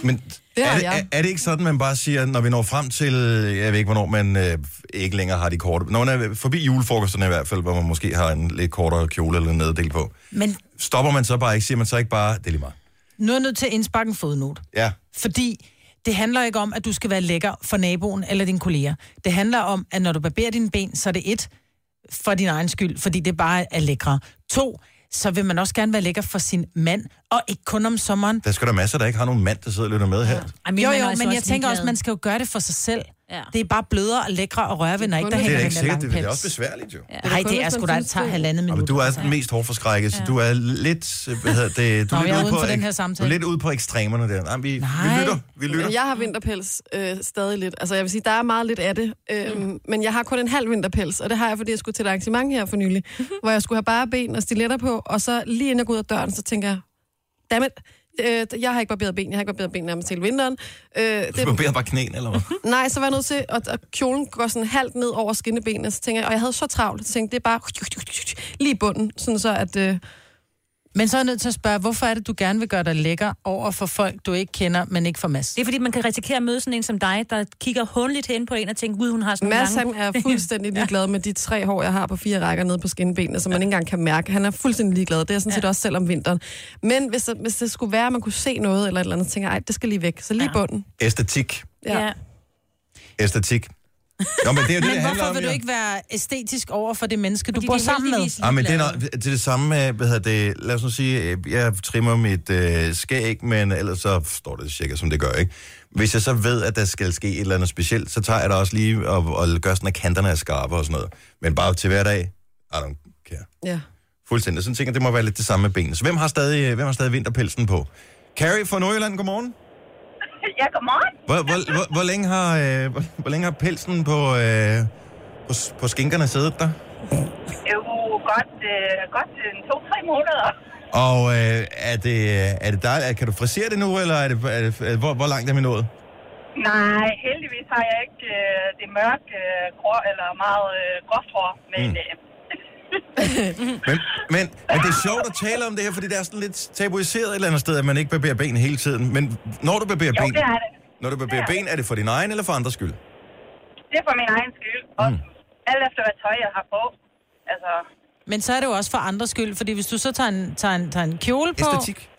Men
har
er, det, er,
jeg.
er det ikke sådan, man bare siger, når vi når frem til, jeg ved ikke, hvornår man øh, ikke længere har de korte... Når man er forbi julefrokosterne i hvert fald, hvor man måske har en lidt kortere kjole eller en neddel på.
Men
Stopper man så bare ikke? Siger man så ikke bare, det er lige meget?
nu er jeg nødt til at indsparke en fodnote.
Ja.
Fordi det handler ikke om, at du skal være lækker for naboen eller dine kolleger. Det handler om, at når du barberer dine ben, så er det et, for din egen skyld, fordi det bare er lækre. To, så vil man også gerne være lækker for sin mand, og ikke kun om sommeren.
Der skal der masser, der ikke har nogen mand, der sidder og lytter med her.
Ej,
Jo,
mand er
jo,
altså
men jeg
også
tænker også,
ligeglad.
man skal jo gøre det for sig selv. Ja. Det er bare blødere og lækre at røre ved, når ikke der
det
hænger
er
den
ikke
der
sikkert,
lange
det, det er også
pels.
besværligt jo.
Nej, det er sgu da, det tager halvandet
Ja,
minut.
men du er den mest hårdforskrækket, så du er lidt, øh, hvad hedder det, du
Nå,
er
jeg er
lidt ude
uden
på,
for den
ek-
her
Du
samtale.
er lidt ude på ekstremerne der. Nej, vi, vi lytter, vi lytter.
Men jeg har vinterpels øh, stadig lidt. Altså jeg vil sige, der er meget lidt af det. Øh, mm. Men jeg har kun en halv vinterpels, og det har jeg, fordi jeg skulle til et arrangement her for nylig,
Mhm.
hvor jeg skulle have bare ben og stiletter på, og så lige inden jeg går ud af døren, så tænker jeg, dammit, øh, jeg har ikke barberet ben, jeg har ikke barberet ben nærmest hele vinteren. Øh, det,
Du barberer bare knæen, eller hvad?
Nej, så var jeg nødt til, at, at kjolen går sådan halvt ned over skinnebenene, så tænker jeg, og jeg havde så travlt, så tænkte jeg, det er bare lige i bunden, sådan så at... Øh,
Men så er jeg nødt til at spørge, hvorfor er det, du gerne vil gøre dig lækker over for folk, du ikke kender, men ikke for Mads?
Det er fordi, man kan risikere at møde sådan en som dig, der kigger hundligt hen på en og tænker, gud, hun har sådan
Mads,
nogle
han
lange...
er fuldstændig ligeglad med de tre hår, jeg har på fire rækker nede på skinbenene, som man ikke engang kan mærke. Han er fuldstændig ligeglad. Det er jeg sådan set også selv om vinteren. Men hvis, der- hvis det skulle være, at man kunne se noget eller et eller andet, så tænker jeg, "Ej, det skal lige væk. Så lige bunden.
Æstetik.
Ja.
Æstetik. Nå, men det er jo det,
men
det handler
hvorfor
om,
vil du
ja.
ikke være æstetisk over for det menneske, du bor
de er
sammen med?
Ja, men det er, noget, det er det samme med, hvad hedder det, lad os nu sige, øh, jeg trimmer mit øh, skæg, men ellers så står det cirka, som det gør, ikke? Hvis jeg så ved, at der skal ske et eller andet specielt, så tager jeg da også lige og, og gør sådan, at kanterne er skarpe og sådan noget. Men bare til hverdag, I don't care.
Ja.
Fuldstændig. Sådan tænker jeg, det må være lidt det samme med benene. Så hvem har stadig, øh, hvem har stadig vinterpelsen på? Carrie fra Nordjylland, godmorgen.
Ja, godmorgen.
Hvor, hvor, hvor, hvor, længe, har, øh, hvor, hvor længe har pelsen på, øh, på, s- på skinkerne siddet der?
Jo, godt, øh, godt øh, to-tre måneder.
Og øh, er, det, er det dig, kan du frisere det nu, eller er det, er det, er, hvor, hvor langt er vi nået?
Nej, heldigvis har jeg ikke øh, det mørke, øh, grå eller meget øh, groft hår, men... Mm.
Mm.
Øh,
Men, men, men det er sjovt at tale om det her, fordi det er sådan lidt tabuiseret et eller andet sted, at man ikke barberer ben hele tiden. Men når du barberer
jo,
ben,
det er det.
når du barberer
Det er
ben,
det.
er det for din egen eller for andres skyld?
Det er for min egen skyld. Og mm. alt efter, hvad tøj jeg har på. Altså,
Men så er det jo også for andres skyld, fordi hvis du så tager en, tager en, tager en kjole på...
Æstetik.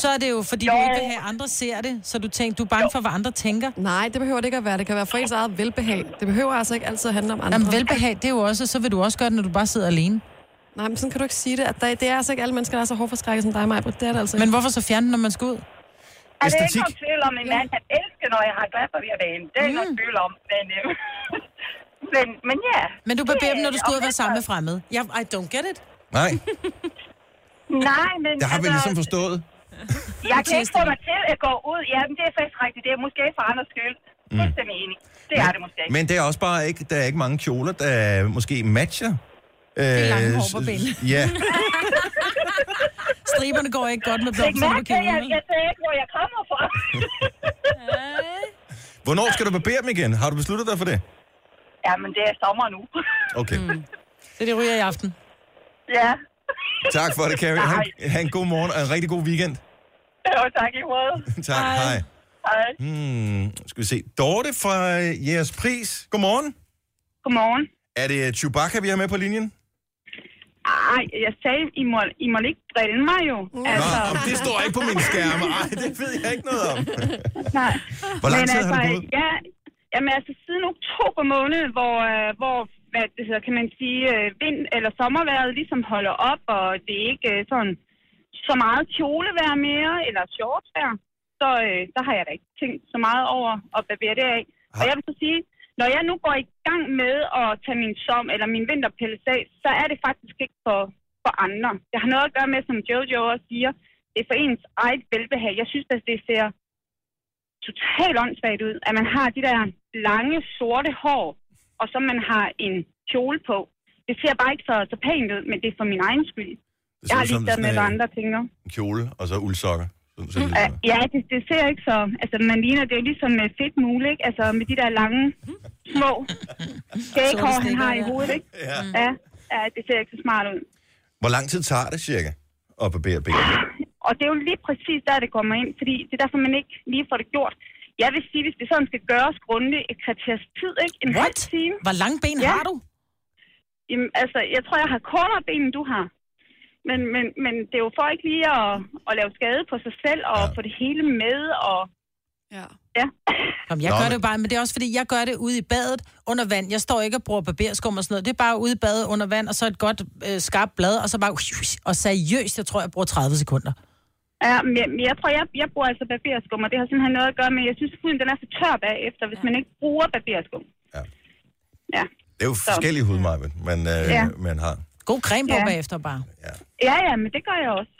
Så er det jo, fordi jo. du ikke vil have, at andre ser det, så du tænker, du er bange for, hvad andre tænker.
Nej, det behøver det ikke at være. Det kan være for ens eget velbehag. Det behøver altså ikke altid at handle om andre.
Jamen, velbehag, det er jo også, så vil du også gøre det, når du bare sidder alene.
Nej, men sådan kan du ikke sige det. At der, det er altså ikke alle mennesker, der er så hårdforskrækket som dig, Maja. Det er det altså ikke.
Men hvorfor så fjerne den, når man skal ud?
er det ikke nogen tvivl om, en mand at elske, når jeg har glat på bane. Det er
Mm.
ikke nogen tvivl om, men... Øh, men, men ja.
Men du barberer
Det-
dem, når du skal ud og
og
være sammen med fremmede. Jeg, I don't get it.
Nej,
Nej, men... altså,
det har vi ligesom forstået.
Jeg kan ikke få mig til at gå ud. Ja, men det er faktisk rigtigt. Det er måske for andres skyld.
Mm.
Mm. Fuldstændig enig. Det er det måske ikke.
Men det er også bare ikke, der er ikke mange kjoler, der måske matcher. Øh, det
er lange hår på benene.
Ja,
Striberne går ikke godt med
Læg
blomster på
mærke til, at jeg,
kjolen.
jeg sagde ikke, hvor jeg kommer fra.
Hvornår skal du barbere dem igen? Har du besluttet dig for det?
ja, men det er sommer nu.
Okay. Mm.
Så det ryger i aften.
ja.
Tak for det, Carrie. Han,
Nej.
han, god morgen og en rigtig god weekend.
Jo, tak i måde.
tak, hej. hej.
Hej.
Hmm, skal vi se. Dorte fra øh, jeres pris. Godmorgen.
Godmorgen.
Er det øh, Chewbacca, vi har med på linjen?
Ej, jeg sagde, I må, I må ikke drille mig jo.
Altså. Nå, om det står ikke på min skærm. Ej, det ved jeg ikke noget om.
Nej.
Hvor lang
Men altså,
tid har du gået?
Ja, jamen altså siden oktober måned, hvor, øh, hvor hvad det hedder, kan man sige, øh, vind- eller sommerværet ligesom holder op, og det er ikke øh, sådan så meget kjolevejr mere, eller shortsvejr, så, øh, så har jeg da ikke tænkt så meget over at barbere det af. Og jeg vil så sige, når jeg nu går i gang med at tage min som eller min vinterpels af, så er det faktisk ikke for, for andre. Det har noget at gøre med, som Jojo også siger, det er for ens eget velbehag. Jeg synes, at det ser totalt åndssvagt ud, at man har de der lange, sorte hår, og så man har en kjole på. Det ser bare ikke så, så pænt ud, men det er for min egen skyld. Jeg
Det ser
har
ud
lige
som
med,
sådan,
hvad
øh,
andre tænker.
En kjole og så uldsokker. Sådan, så,
Ja, Ja, det, det ser ikke så... Altså, man ligner, det er jo ligesom med fedt mule, ikke? Altså, med de der lange, små skæghår, han har i hovedet, ikke?
Ja.
ja. Ja, det ser ikke så smart ud.
Hvor lang tid tager det cirka at barbere benene?
Og det er jo lige præcis der, det kommer ind, fordi det er derfor, man ikke lige får det gjort. Jeg vil sige, hvis det sådan skal gøres grundigt, et kvarters tid, ikke? En halv time.
Hvor lange ben har du?
Jamen, altså, jeg tror, jeg har kortere ben, end du har. Men, men, men det er jo for ikke lige at, at lave skade på sig selv og ja. få det hele med. Og...
Ja.
ja.
Kom, jeg Nå,
Nå,
gør
men-
det jo bare, men det er også fordi, jeg gør det ude i badet under vand. Jeg står ikke og bruger barberskum og sådan noget. Det er bare ude i badet under vand, og så et godt øh, skarpt blad, og så bare... Og seriøst, jeg tror, jeg bruger 30 sekunder.
Ja, men jeg, men jeg tror, jeg, jeg bruger altså barberskum, og det har simpelthen noget at gøre med, jeg synes, huden den er så tør bagefter, hvis ja. man ikke bruger barberskum. Ja.
Det er jo forskellige hudmarve, man, øh,
Ja.
man har.
God creme på
Ja.
ja. bagefter bare.
Ja, ja, men det gør jeg også.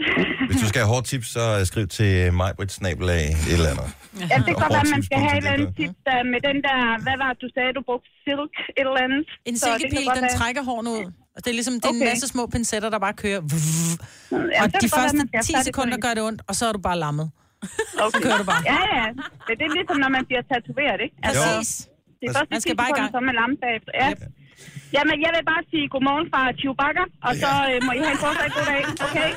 Hvis du skal have hårdt tips, så øh, skriv til Majbrit Snabel af et eller andet.
Ja, det kan godt være,
Og
at man skal have et eller andet
hårtips.dk.
tip der, med den der, hvad var det, du sagde, du brugte silk, et eller andet.
En
Så det kan
silkepil,
godt
den
være-
trækker hårene ud. Og det er ligesom, det er en
Okay.
masse små pincetter, der bare kører.
Ja,
og
det
de
kan godt være,
første
man skal
10
tage det
sekunder gør det ondt, og så er du bare lammet.
Okay.
kører du bare.
Ja, ja. Men det er ligesom, når man bliver tatoveret, ikke?
Præcis.
Det er først
Man skal bare i gang.
Så er man lamme bagefter. Ja. Jamen, jeg vil bare sige godmorgen fra Chewbacca, og så øh, må I have en fortsat god dag, okay?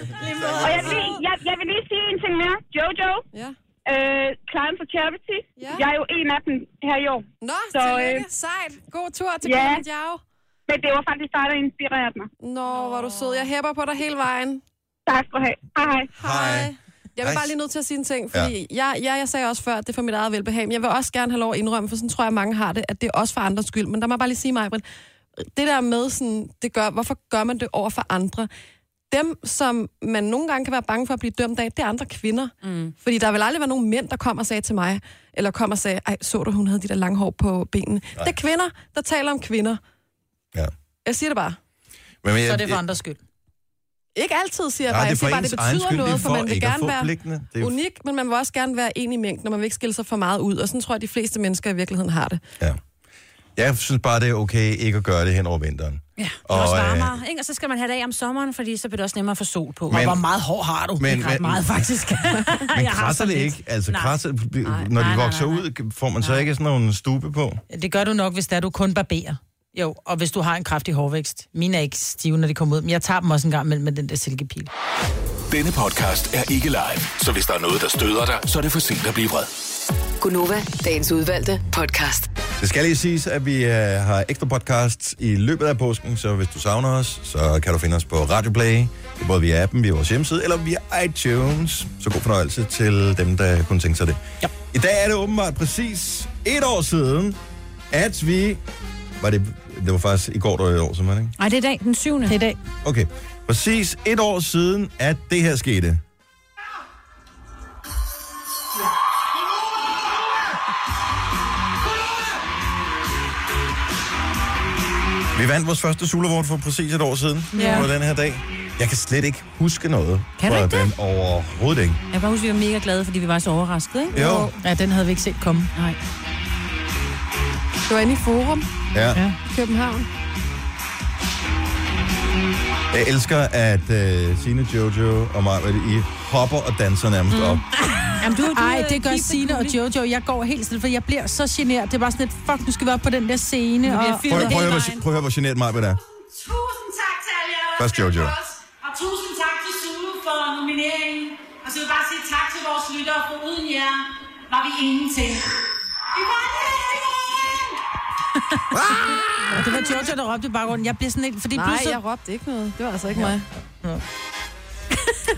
Og jeg vil, lige, jeg, jeg vil lige sige en ting mere. Jojo,
ja.
øh, Climb for Charity,
Ja.
jeg er jo en af dem her i år.
Nå, så, tillykke. Sejt. God tur til
øh, ja.
Kilimanjaro.
Men det var faktisk dig, der inspirerede mig.
Nå, hvor er du sød. Jeg hæpper på dig hele vejen.
Tak for have. Hej.
Hej. Jeg vil
Hej.
bare lige nødt til at sige en ting, fordi ja. jeg, jeg, jeg sagde også før, at det er for mit eget velbehag, men jeg vil også gerne have lov at indrømme, for sådan tror jeg, mange har det, at det er også for andres skyld. Men der må jeg bare lige sige mig, det der med, sådan, det gør, hvorfor gør man det over for andre? Dem, som man nogle gange kan være bange for at blive dømt af, det er andre kvinder. Mm. Fordi der vil aldrig være nogen mænd, der kommer og sagde til mig, eller kommer og sagde, ej, så du, hun havde de der lange hår på benene. Nej. Det er kvinder, der taler om kvinder.
Ja.
Jeg siger det bare.
Men, jeg,
Så er det for andres skyld.
Ikke altid, siger jeg
Nej, det er
bare. Jeg siger
for
bare, det
ens egen
betyder
skyld. Det er
noget, for,
for
man vil
ikke at
gerne
få blikkene.
være
Det er jo-
unik, men man vil også gerne være en i mængden, og man vil ikke skille sig for meget ud. Og sådan tror jeg, de fleste mennesker i virkeligheden har det.
jeg synes bare, det er okay ikke at gøre det hen over vinteren.
Ja, det
Og,
er også
øh,
varmere, ikke? Og så skal man have det af om sommeren, fordi så bliver det også nemmere at få sol på.
Men-
Men, hvor meget hår har du?
men-
Men, ikke ret
men-
meget, faktisk.
Men
men
krasser det ikke? Altså,
Nej.
krasser,
Nej,
når
nej,
de
nej,
vokser ud, får man så ikke sådan nogle stube på?
Det gør du nok, hvis det er, du kun barberer. Jo, og hvis du har en kraftig hårvækst. Mine er ikke stive, når de kommer ud, men jeg tager dem også en gang imellem med den der silkepil.
Denne podcast er ikke live, så hvis der er noget, der støder dig, så er det for sent at blive vred.
Gunova, dagens udvalgte podcast.
Det skal lige siges, at vi øh, har ekstra podcasts i løbet af påsken, så hvis du savner os, så kan du finde os på Radio Play. Det er både via appen, via vores hjemmeside eller via iTunes. Så god fornøjelse til dem, der kunne tænke sig det. Ja. I dag er det åbenbart præcis et år siden, at vi... Var det, det var faktisk i går, der var et år, som var det, ikke?
Nej, det er i dag, den syvende. Det er i dag.
Okay. Præcis et år siden, at det her skete. Vi vandt vores første Sulavort for præcis et år siden
Ja.
på den her dag. Jeg kan slet ikke huske noget
Kan du
fra
ikke det?
den overhovedet ikke.
Jeg kan bare huske, vi var mega glade, fordi vi var så overraskede, ikke?
Jo.
Ja, den havde vi ikke set komme.
Nej.
Det var inde i Forum,
Ja. ja.
København.
Jeg elsker, at uh, Signe, Jojo og mig, I hopper og danser nærmest mm. op.
Jamen, du,
du
Ej,
er
det gør
keep it
Sine og Jojo. Jeg går helt stille, for jeg bliver så generet. Det er bare sådan et, fuck, nu skal vi op på den der scene.
Vi
Og...
bliver
Prøv, prøv, prøv, at høre, hvor- prøv at høre, hvor genert mig er.
Tusind tak til alle jer, der
Først
har stemt
Jojo.
på os. Og tusind tak til Sue for nomineringen. Og så vil jeg bare sige tak til vores lyttere, for uden jer var vi ingenting. Vi var
Og det var Jojo, der råbte i baggrunden. Jeg bliver sådan helt... Fordi
Nej,
pludselig...
jeg råbte ikke noget. Det var altså ikke ja. mig.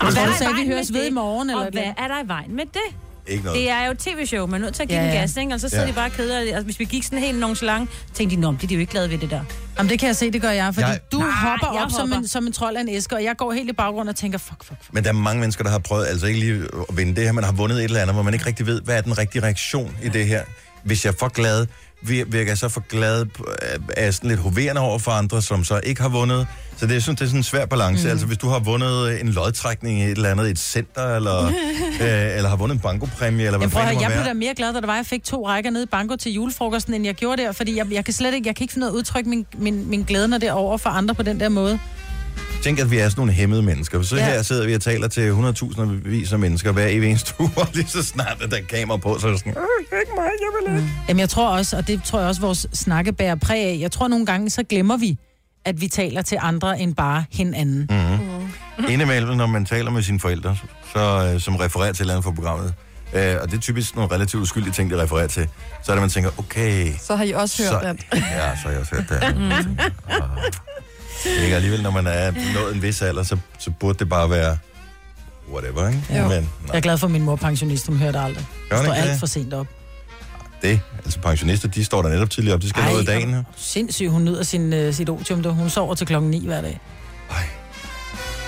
Og
Hvad
hvad
er
du
der i
sagde, vi
vejen
høres
med
ved i
det?
morgen, eller
Og hvad
hvad?
er der i vejen med det?
Ikke noget.
Det er jo et tv-show, man er nødt til at give
Ja,
ja,
ja.
den gas, ikke? Og så sidder
Ja.
ja. de bare keder, og hvis vi gik sådan helt nonchalant, tænkte de, nå, men det er de jo ikke glade ved det der.
Jamen, det kan jeg se, det gør jeg, fordi
Jeg-
jeg... du
Nej,
hopper op
jeg
Som,
hopper.
en, som en trold af en æske, og jeg går helt i baggrunden og tænker, fuck, fuck,
Men der er mange mennesker, der har prøvet altså ikke lige at vinde det her. Man har vundet et eller andet, hvor man ikke rigtig ved, hvad er den rigtige reaktion i det her. Hvis jeg er for glad, vir- virker jeg så for glad, øh, er jeg sådan lidt hoverende over for andre, som så ikke har vundet. Så det, jeg synes, det er sådan en svær balance. Mm. Altså hvis du har vundet øh, en lodtrækning i et eller andet, i et center, eller, øh, eller har vundet en bankopræmie, eller hvad
Jamen, prøv at høre,
fanden det
jeg
må
blev
være.
da mere glad, da det var, jeg fik to rækker nede i banko til julefrokosten, end jeg gjorde der, fordi jeg, jeg kan slet ikke, jeg kan ikke finde ud af at udtrykke min, min, min glæde, når det er over for andre på den der måde.
Tænk, at vi er sådan nogle hæmmede mennesker. Så
Ja.
her sidder vi og taler til 100.000 vis af mennesker hver evig eneste uge, og lige så snart, at der er kamera på, så er det sådan...
Øh, ikke mig, jeg vil ikke. Mm. Jamen, jeg tror også, og det tror jeg også, vores snakke bærer præg af, jeg tror nogle gange, så glemmer vi, at vi taler til andre end bare hinanden.
Mm-hmm. Mm. Indimellem, når man taler med sine forældre, så, øh, som refererer til et eller andet fra programmet, øh, og det er typisk nogle relativt uskyldige ting, de refererer til, så er det, man tænker, okay...
Så har I også hørt,
så,
at...
Ja, så har jeg også hørt det. Ikke alligevel, når man er nået en vis alder, så, så burde det bare være whatever, ikke?
Jo.
Men
Jeg er glad for, at min mor er pensionist, hun hører det aldrig.
Gør
Hun
hun
står
ikke
alt
det?
for sent op.
det, altså pensionister, de står der netop tidligere op, de skal Ej, nå i dagen.
og sindssygt, hun nyder sin, øh, sit otium, da hun sover til klokken 9 hver dag.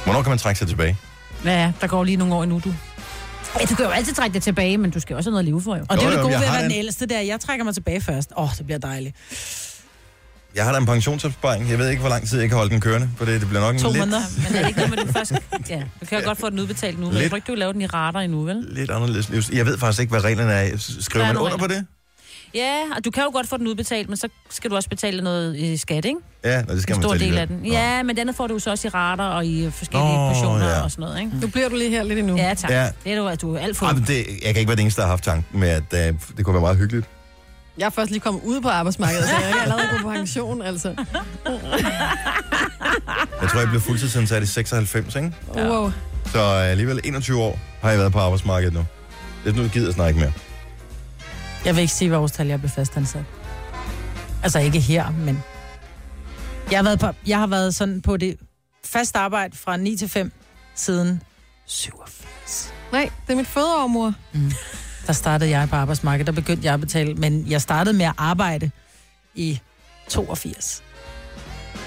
Hvornår kan man trække sig tilbage?
Ja, der går lige nogle år endnu, du. Ja, du kan jo altid trække det tilbage, men du skal jo også have noget liv for, jo.
Og det er jo det gode
jeg
ved at
har
være den
den.
ældste der. Jeg trækker mig tilbage først. Åh, oh, det bliver dejligt.
Jeg har da en pensionsopsparing. Jeg ved ikke, hvor lang tid jeg kan holde den kørende, for det, det bliver nok en
To
lidt,
måneder. Men er det ikke noget med den første? Ja, du kan jo godt få den udbetalt nu, men jeg
Lidt.
tror ikke, du vil lave den i rater endnu, vel?
lidt anderledes livs. Jeg ved faktisk ikke, hvad reglerne er. Skriver
Der er
man
nogle
under på det?
Ja, og du kan jo godt få den udbetalt, men så skal du også betale noget i skat, ikke?
Ja, nå, det skal
en
man
stor
tage
del
alligevel.
af den. Ja, men den andet får du jo så også i rater og i forskellige
Nå,
oh, portioner
ja.
og sådan noget, ikke?
Nu bliver du lige her lidt endnu.
Ja, tak.
Ja.
Ja. Det er du, at du er alt for...
Ej, men det, jeg kan ikke være den eneste, der har haft tanken med, at uh, øh, det kunne være meget hyggeligt.
Jeg er først lige kommet ud på arbejdsmarkedet, så jeg er ikke allerede gået på pension, altså.
Jeg tror, jeg blev fuldtidsansat i 96, ikke?
Wow.
Så øh, alligevel 21 år har jeg været på arbejdsmarkedet nu. Det er nu, gider jeg snakke mere.
Jeg vil ikke sige, hvor årstal jeg blev fastansat. Altså ikke her, men... Jeg har været, på, jeg har været sådan på det fast arbejde fra 9 til 5 siden 87.
Nej, det er mit fødeår, mor.
Mm. Der startede jeg på arbejdsmarkedet, der begyndte jeg at betale, men jeg startede med at arbejde i 82.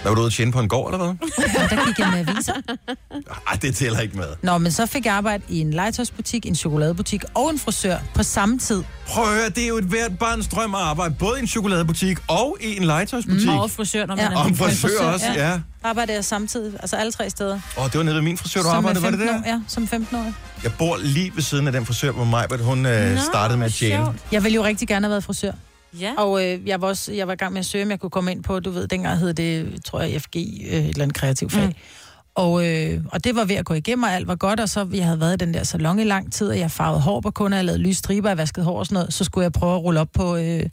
Der var du ude at tjene på en gård, eller hvad?
Og der gik jeg med aviser.
Ej, det tæller ikke med.
Nå, men så fik jeg arbejde i en legetøjsbutik, en chokoladebutik og en frisør på samme tid.
Prøv at høre, det er jo et hvert barns drøm at arbejde både i en chokoladebutik og i en legetøjsbutik.
Mm. Og frisør, når man
ja.
er
Og en
en
frisør også, ja. Åh,
Der arbejdede jeg samtidig, altså alle tre steder.
oh, det var nede ved min frisør, du
Som
arbejdede, var det
15
der?
År, ja, som 15-årig.
Jeg bor lige ved siden af den frisør, hvor Majbert, hun øh,
Nå,
startede med at tjene.
sjovt. Jeg ville jo rigtig gerne have været frisør. Ja. Og øh, jeg, var også, jeg var i gang med at søge, om jeg kunne komme ind på, du ved, dengang hed det, tror jeg, FG, øh, et eller andet kreativt fag. Mm. Og, øh, og det var ved at gå igennem, og alt var godt, og så jeg havde været i den der salon i lang tid, og jeg farvede hår på kunder, jeg lavede lyse striber, jeg vaskede hår og sådan noget, så skulle jeg prøve at rulle op på øh,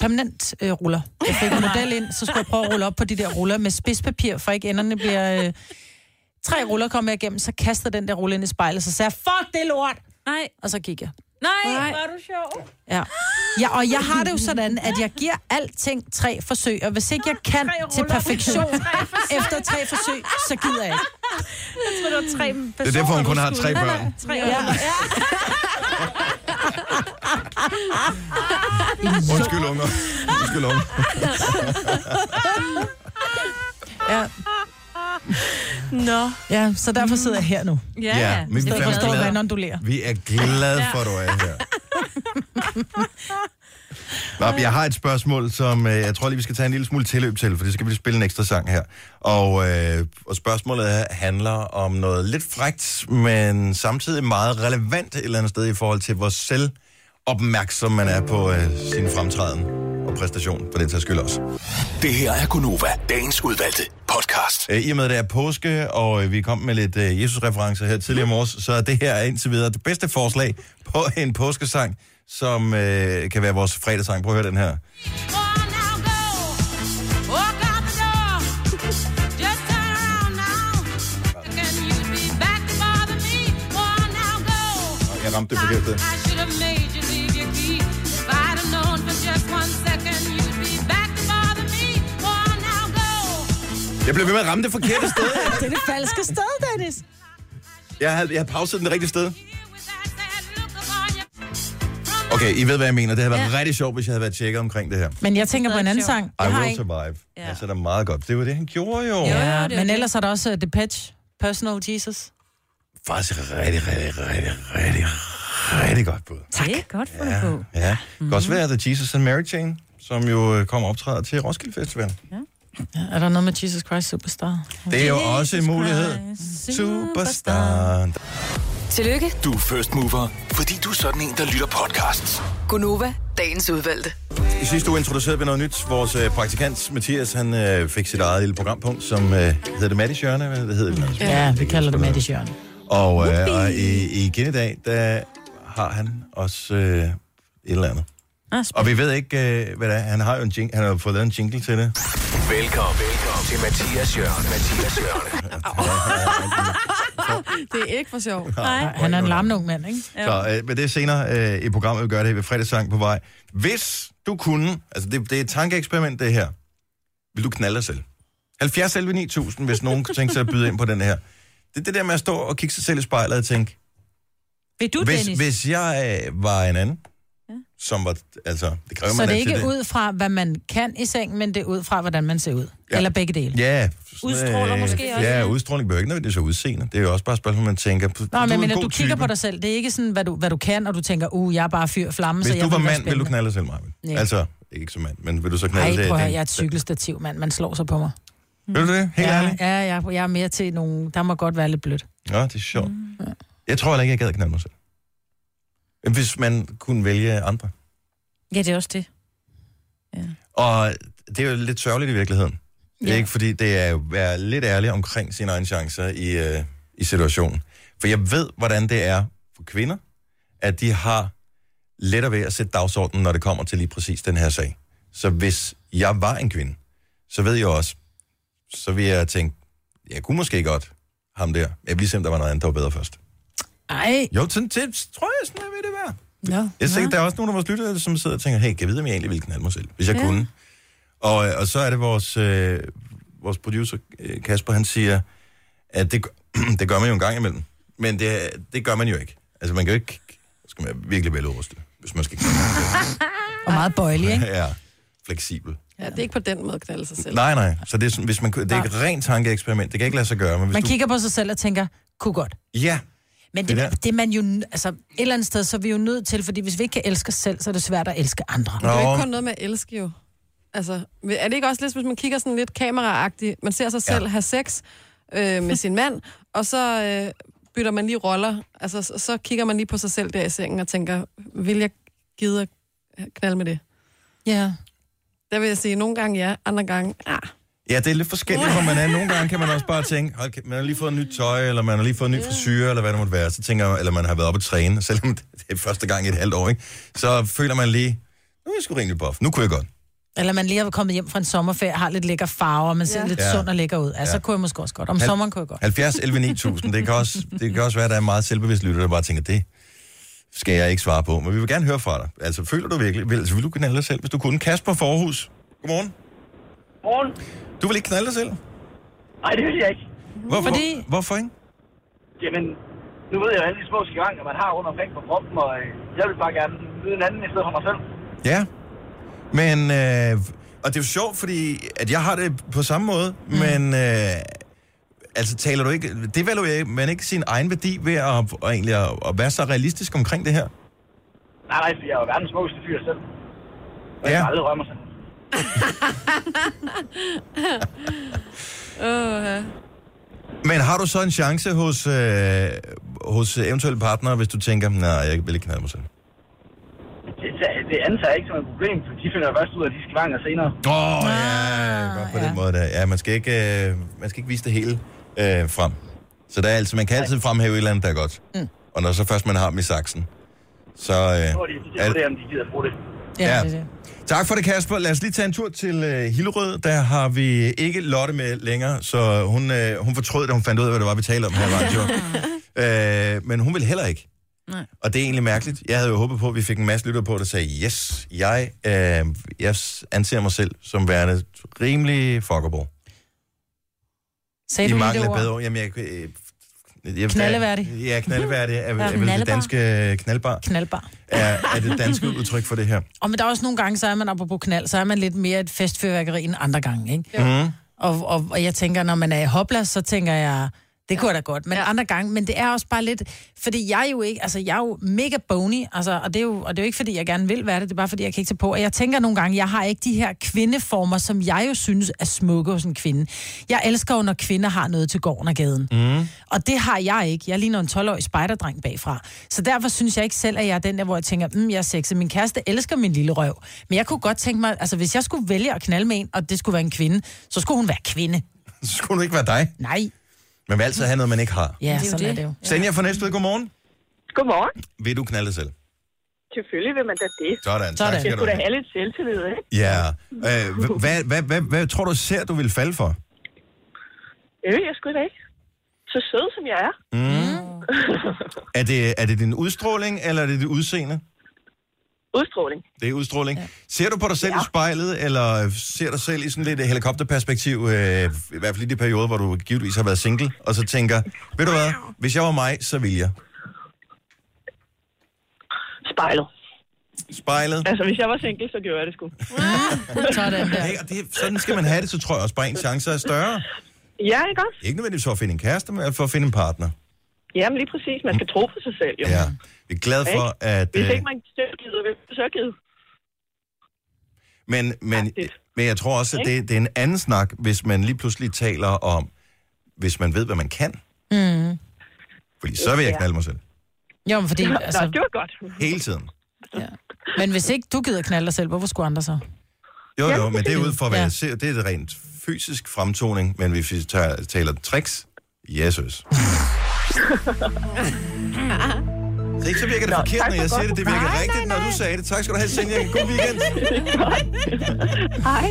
permanent øh, ruller. Jeg fik en model ind, så skulle jeg prøve at rulle op på de der ruller med spidspapir, for ikke enderne bliver... Øh, tre ruller kom jeg igennem, så kastede den der rulle ind i spejlet, så sagde jeg, fuck det lort! Nej. Og så gik jeg.
Nej, Nej. var du sjov.
Ja. ja, og jeg har det jo sådan, at jeg giver alting tre forsøg, og hvis ikke jeg kan til perfektion efter tre forsøg, så gider jeg ikke.
Jeg tror, det var tre personer,
Det er derfor, hun
du
kun har
skulle.
tre
Nej, nej,
børn.
Tre ja.
Undskyld, unger. Undskyld, unger.
Ja. Nå. Ja, så derfor sidder jeg her nu.
Ja, Ja, men vi
I stedet for at
fandme
stå og
glade.
vandondulerer.
Vi er glade for, at du er her. Nå, jeg har et spørgsmål, som øh, jeg tror lige, vi skal tage en lille smule tilløb til, for det skal vi lige spille en ekstra sang her. Og, øh, og spørgsmålet her handler om noget lidt frægt, men samtidig meget relevant et eller andet sted i forhold til, hvor selvopmærksom man er på øh, sin fremtræden og præstation, for den tager skyld også.
Det her er Gunova, dagens udvalgte podcast.
Øh, I og med, det er påske, og øh, vi kom med lidt øh, Jesus-referencer her tidligere i morges, så er det her indtil videre det bedste forslag på en påskesang, som øh, kan være vores fredagssang. Prøv at høre den her. Jeg ramte det forkert. der. Jeg blev ved med at ramme det forkerte sted.
det er det falske sted, Dennis.
Jeg havde, jeg havde pauset den det rigtige sted. Okay, I ved, hvad jeg mener. Det havde været ja. rigtig sjovt, hvis jeg havde været tjekker omkring det her.
Men jeg tænker på en anden sang.
I
Jeg har
will
en.
survive. Ja. Altså, det er meget godt. Det var det, han gjorde jo.
Ja, men ellers er der også uh, Depeche, Personal Jesus.
Faktisk rigtig, rigtig, rigtig, rigtig, rigtig godt bud.
Tak. Det er godt for
Ja, ja. Det
Mhm.
kan også være, at The Jesus and Mary Chain, som jo øh, kommer og optræder til Roskilde Festival.
Er der noget med Jesus Christ Superstar?
Det er jo også en mulighed. Superstar.
Tillykke,
Du er first mover, fordi du er sådan en, der lytter podcasts.
Gunova, dagens udvalgte.
I sidste uge introducerede vi noget nyt. Vores øh, praktikant, Mathias, han øh, fik sit eget lille programpunkt, som øh, hedder det Mattis Hjørne. Hvad hedder det? Nå,
Ja, vi kalder det Mattis Jørgen.
Og, øh, og i, igen i dag, der har han også øh, et eller andet.
Ah,
Og vi ved ikke, øh, hvad det er. Han har jo en jingle, han har jo fået lavet en jingle til det.
Velkommen, velkommen til Mathias Jørgen. Mathias Jørgen.
Det er ikke for sjov.
Nej. Han er en larmende ung mand, ikke?
Så, øh, men det er senere øh, i programmet, vi gør det her ved fredagssang på vej. Hvis du kunne, altså det, det er et tankeeksperiment det her, vil du knalde dig selv? 70 11 9000, hvis nogen kunne tænke sig at byde ind på den her. Det er det der med at stå og kigge sig selv i spejlet og tænke,
Vil du,
hvis,
Dennis?
hvis jeg øh, var en anden, ja. som var, altså, det kræver
Så
man
det er
altid
ikke ud fra, hvad man kan i seng, men det er ud fra, hvordan man ser ud. Ja. Eller begge dele.
Ja. øh,
Udstråler måske også.
Ja, udstråling behøver ikke nødvendigvis være udseende. Det er jo også bare et spørgsmål, man tænker. Nå,
Nå, men, men du kigger på dig selv. Det er ikke sådan, hvad du, hvad du kan, og du tænker, uh, jeg er bare fyr flamme, så
Hvis
jeg
du var
vil være
mand, ville du
spændende."
knalde dig selv, Marvin?
Ja.
Altså, ikke som mand, men vil du så knalde
Ej,
dig selv?
prøv at høre, jeg er et cykelstativ, mand. Man slår sig på mig.
Vil du det? Helt
ja,
ærligt?
Ja, ja, jeg er mere til nogle... Der må godt være lidt blødt.
Ja, det er sjovt.
Mm.
Jeg tror heller ikke, jeg gad at knalde mig selv. Men Hvis man kunne vælge andre.
Ja, det er også det.
Og det er jo lidt sørgeligt i virkeligheden. Ja.
Ja.
Ikke fordi det er at være lidt ærlig omkring sine egne chancer i, øh, i situationen. For jeg ved, hvordan det er for kvinder, at de har lettere ved at sætte dagsordenen, når det kommer til lige præcis den her sag. Så hvis jeg var en kvinde, så ved jeg også, så vil jeg tænke, jeg kunne måske godt ham der. Jeg vil lige se, om der var noget andet, der var bedre først.
Ej.
Jo, sådan, det tror jeg, sådan er ved det være.
Nå.
Jeg tænker, der er også nogen af vores lyttere, som sidder og tænker, hey, kan jeg vide, om jeg egentlig ville knalde mig selv, hvis jeg
Ja.
ja. kunne? Og, og så er det vores, øh, vores producer, øh, Kasper, han siger, at det, g- det gør man jo en gang imellem. Men det, det gør man jo ikke. Altså, man kan jo ikke... Så skal man virkelig veludrustet, hvis man skal knalde
Og meget bøjelig, ikke?
Ja, fleksibel.
Ja, det er ikke på den måde at knalde sig selv.
Nej, nej. Så det er, sådan, hvis man, kunne- det er et rent tankeeksperiment. Det kan ikke lade sig gøre. Men hvis
Man
du,
kigger på sig selv og tænker, kunne godt.
Ja.
Men
Det
det,
der.
det, det er man jo, n- altså et eller andet sted, så er vi jo nødt til, fordi hvis vi ikke kan elske os selv, så er det svært at elske andre.
Men Det er jo ikke kun noget med at elske, jo. Altså, er det ikke også lidt, hvis man kigger sådan lidt kameraagtigt, man ser sig selv ja. have sex øh, med sin mand, og så øh, bytter man lige roller, altså så, så kigger man lige på sig selv der i sengen og tænker, vil jeg gide at knalde med det?
Ja.
Der vil jeg sige, nogle gange ja, andre gange, ah.
Ja, det er lidt forskelligt, hvor man er. Nogle gange kan man også bare tænke, hold kæft, man har lige fået nyt tøj, eller man har lige fået en ny frisyr, eller hvad det måtte være. Så tænker man, eller man har været oppe at træne, selvom det er første gang i et halvt år, ikke? Så føler man lige, nu er jeg sgu rimelig buff. Nu kunne jeg godt.
Eller man lige er kommet hjem fra en sommerferie, har lidt lækker farver, og man ser
Ja.
ja. lidt
Ja.
sund og lækker ud. Altså,
Ja.
ja. kunne jeg måske også godt. Om
Hal-
sommeren kunne jeg godt.
70, 11, 9000. Det kan også, det kan også være, at der er meget selvbevidst lytter, der bare tænker, det skal jeg ikke svare på. Men vi vil gerne høre fra dig. Altså, føler du virkelig? Vil, altså, vil du knalde dig selv, hvis du kunne? Kasper Forhus, godmorgen.
Morgen.
Du vil ikke knalde dig selv?
Nej, det vil jeg ikke.
Hvorfor, Hvor, hvorfor ikke?
Jamen, nu ved jeg jo alle de små skiranger, man har rundt omkring på kroppen, og øh, jeg vil bare gerne vide en anden i stedet for mig selv.
Ja. Men, øh, og det er jo sjovt, fordi at jeg har det på samme måde, mm. men øh, altså taler du ikke, det valuerer man ikke sin egen værdi ved at, og egentlig at, at være så realistisk omkring det her?
Nej, nej, for jeg er jo verdens smukkeste fyr selv. Og jeg
Ja.
kan aldrig rømme mig selv.
Åh,
Men har du så en chance hos, øh, hos eventuelle partnere, hvis du tænker, nej, jeg vil ikke knalde mig selv?
Det, tager- det antager jeg ikke som et problem, for de finder jo først ud af de skiranger senere.
Åh, oh, ja, godt på ja. den måde der. Ja, man skal ikke, øh, man skal ikke vise det hele øh, frem. Så der er altså, man kan altid fremhæve et eller andet, der er godt. Mm. Og når så først man har dem i saksen, så... Øh,
Så er de
er-
så det, om de gider bruge det.
Ja, ja. Det, Tak for det, Kasper. Lad os lige tage en tur til øh, Hillerød. Der har vi ikke Lotte med længere, så hun, øh, hun fortrød, da hun fandt ud af, hvad det var, vi talte om her i radio. øh, men hun vil heller ikke.
Nej.
Og det er egentlig mærkeligt. Jeg havde jo håbet på, at vi fik en masse lytter på, der sagde, yes, jeg, øh, jeg anser mig selv som værende rimelig fuckerborg.
Sagde
I
du lige
mangel
det
af
ord?
bedre ord. Jamen, jeg... Øh, jeg
Knaldeværdig.
Ja, knaldeværdig er,
Ja.
er, er vel det
Knaldbar.
danske øh, knaldbar.
Knaldbar.
Er, er det danske udtryk for det her.
Og men der er også nogle gange, så er man apropos knald, så er man lidt mere et festfyrværkeri end andre gange, ikke?
Mhm.
Og, og, og jeg tænker, når man er i hopla, så tænker jeg, det kunne jeg da godt, men andre gange, men det er også bare lidt, fordi jeg er jo ikke, altså jeg er jo mega bony, altså, og, det er jo, og det er jo ikke, fordi jeg gerne vil være det, det er bare, fordi jeg kan ikke tage på, og jeg tænker nogle gange, jeg har ikke de her kvindeformer, som jeg jo synes er smukke hos en kvinde. Jeg elsker jo, når kvinder har noget til gården og gaden.
Mm.
Og det har jeg ikke. Jeg ligner en 12-årig spejderdreng bagfra. Så derfor synes jeg ikke selv, at jeg er den der, hvor jeg tænker, mm, jeg er sexet. Min kæreste elsker min lille røv. Men jeg kunne godt tænke mig, altså hvis jeg skulle vælge at knalde med en, og det skulle være en kvinde, så skulle hun være kvinde.
Så skulle det ikke være dig.
Nej.
Man vil altid have noget, man ikke har.
Ja, det er jo sådan det. er det jo.
Senja fra Næstved, godmorgen.
Godmorgen.
Vil du knalde dig selv?
Selvfølgelig vil man da det.
Sådan, tak Sådan. skal
Jeg
du
skulle da
have.
have lidt selvtillid, ikke?
Ja. Øh, hva- Hvad hvad, hvad, hvad tror du ser, du vil falde for?
Det ved jeg sgu da ikke. Så sød som jeg er.
Mm. Er, det, er det din udstråling, eller er det dit udseende?
Udstråling.
Det er udstråling. Ja. Ser du på dig selv ja. i spejlet, eller ser dig selv i sådan lidt helikopterperspektiv, øh, i hvert fald i de perioder, hvor du givetvis har været single, og så tænker, ved du hvad, hvis jeg var mig, så ville jeg.
Spejlet.
Spejlet.
Altså, hvis jeg var single, så gjorde jeg det sgu.
Mm. Sådan der.
Hey, og det, sådan skal man have det, så tror jeg også bare, en chance er større.
Ja, ikke også?
Ikke nødvendigvis for at finde en kæreste, men for at finde en partner.
Jamen lige præcis. Man skal tro på sig selv, jo.
Ja. Vi er glade for,
Ikke?
at...
Hvis
øh,
ikke man selv gider, hvem så gider?
Men, men, men jeg tror også, at det, det er en anden snak, hvis man lige pludselig taler om, hvis man ved, hvad man kan.
Mm.
Fordi så vil jeg
Ja.
knalde mig selv.
Jo, men fordi...
Nå,
Altså,
det var godt.
Hele tiden.
Men hvis ikke du gider knalde dig selv, hvorfor skulle andre så?
Jo,
Ja,
jo, men det er ud fra, hvad
ja.
jeg ser. Det er det rent fysisk fremtoning, men hvis vi tager, taler tricks, Jesus. Så ikke så virker det
Nå,
forkert,
tak
når
for
jeg
godt
siger det. Det virker
program. Nej,
rigtigt, når du sagde det. Tak skal du have, Senja. God weekend.
Hej.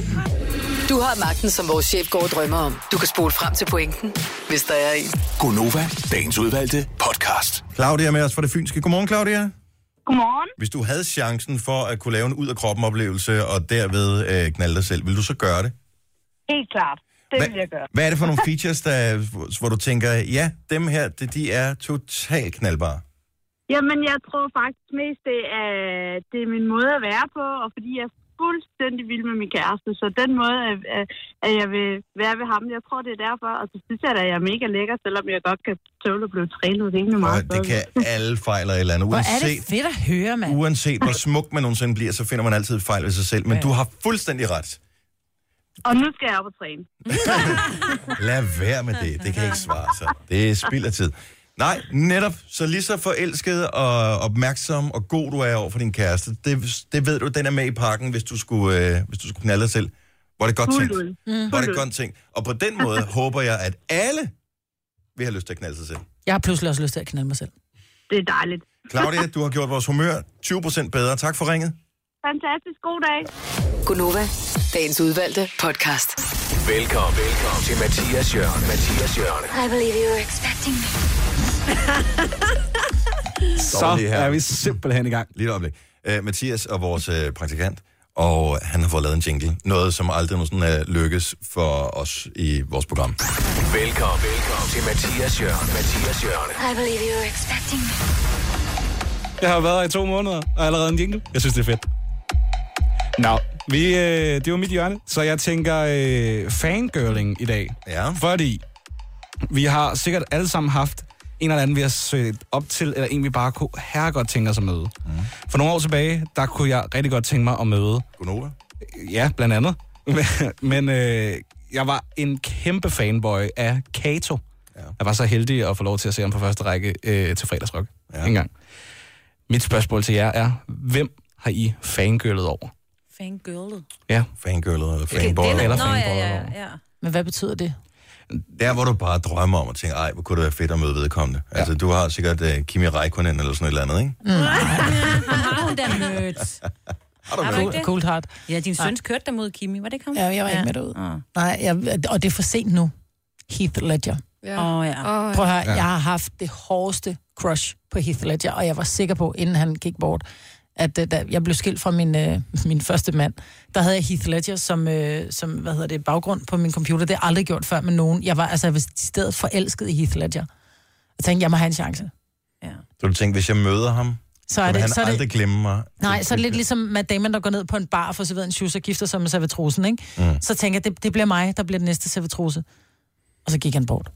Du har magten, som vores chef går og drømmer om. Du kan spole frem til pointen, hvis der er en.
Gonova, dagens udvalgte podcast.
Claudia er med os fra det Fynske. Godmorgen, Claudia.
Godmorgen.
Hvis du havde chancen for at kunne lave en ud-af-kroppen-oplevelse, og derved øh, knalde dig selv, vil du så gøre det?
Helt klart. Det
Hvad-
vil jeg gøre.
Hvad er det for nogle features, der, hvor du tænker, ja, dem her, det, de er totalt knaldbare?
Jamen, jeg tror faktisk mest, det er, det er min måde at være på, og fordi jeg er fuldstændig vild med min kæreste, så den måde, at, at- at jeg vil være ved ham, jeg tror, det er derfor, og så synes jeg da, at jeg er mega lækker, selvom jeg godt kan tåle at blive trænet rimelig meget.
Og det kan alle fejle et eller andet.
Hvor er
Uanset,
det fedt at høre, mand.
uanset hvor smuk man nogensinde bliver, så finder man altid et fejl ved sig selv. Men du har fuldstændig ret.
Og nu skal jeg op og træne.
Lad være med det. Det kan ikke svare sig. Det er spild af tid. Nej, netop. Så lige så forelsket og opmærksom og god du er over for din kæreste, det, det ved du, den er med i pakken, hvis du skulle, øh, hvis du skulle knalde dig selv. Var det godt
Fuldt
tænkt?
ud. Mm.
Var
Fuldt
det
ud.
godt tænkt? Og på den måde håber jeg, at alle vil have lyst til at knalde sig selv.
Jeg har pludselig også lyst til at knalde mig selv.
Det er dejligt.
Claudia, du har gjort vores humør 20% bedre. Tak for ringet.
Fantastisk god dag.
Gunova, dagens udvalgte podcast.
Velkommen, velkommen til Mathias Jørgen. Mathias Jørgen.
I believe you were expecting me.
Dårlig
Så
her.
er vi simpelthen i gang.
Lige et øjeblik. Uh, Mathias er vores uh, praktikant, og han har fået lavet en jingle. Noget, som aldrig nogensinde uh, lykkes for os i vores program.
Velkommen, velkommen til Mathias Jørgen. Mathias Jørgen.
I believe you were expecting me.
Jeg har været her i to måneder, og allerede en jingle. Jeg synes, det er fedt. Nå, vi, øh, det var mit hjørne, så jeg tænker øh, fangirling i dag.
Ja.
Fordi vi har sikkert alle sammen haft en eller anden, vi har søgt op til, eller en, vi bare kunne herre godt tænke os at møde. Mm. For nogle år tilbage, der kunne jeg rigtig godt tænke mig at møde.
Gunova?
Ja, blandt andet. Men øh, jeg var en kæmpe fanboy af Kato. Ja. Jeg var så heldig at få lov til at se ham på første række øh, til fredagsrock. Ja. En gang. Mit spørgsmål til jer er, hvem har I fangirlet over?
Fangirlet.
Ja.
Fangirlet eller fanboy.
Eller
Nå, ja,
fanboy.
ja, ja.
Men hvad betyder det?
Der, hvor du bare drømmer om at tænke, ej, hvor kunne det være fedt at møde vedkommende. Ja. Altså, du har sikkert uh, Kimi Räikkönen eller sådan et eller andet, ikke?
Mm.
Har hun da mødt?
du
Har du
mødt?
ikke det?
Cold heart.
Ja, din søn
Nej.
kørte dig mod Kimi, var det ikke ham?
Ja, jeg var ikke med derud.
Ah.
Nej, jeg, og det er for sent nu. Heath Ledger.
Ja. Åh, ja. Åh, ja.
Prøv at høre,
Ja.
jeg har haft det hårdeste crush på Heath Ledger, og jeg var sikker på, inden han gik bort, at øh, da jeg blev skilt fra min, øh, min første mand, der havde jeg Heath Ledger som, øh, som hvad hedder det, baggrund på min computer. Det har jeg aldrig gjort før med nogen. Jeg var altså jeg var i stedet forelsket i Heath Ledger. Jeg tænkte, jeg må have en chance.
Så du tænker, hvis jeg møder ham,
Så
så,
er
vil
det-
han
så er det-
aldrig glemme mig.
Nej, så er det lidt ligesom Matt Damon, der går ned på en bar og får serveret en shoes og gifter sig med servitrusen, ikke?
Mm.
Mm. Så tænker jeg, det, det bliver mig, der bliver den næste servitruse. Og så gik han bort.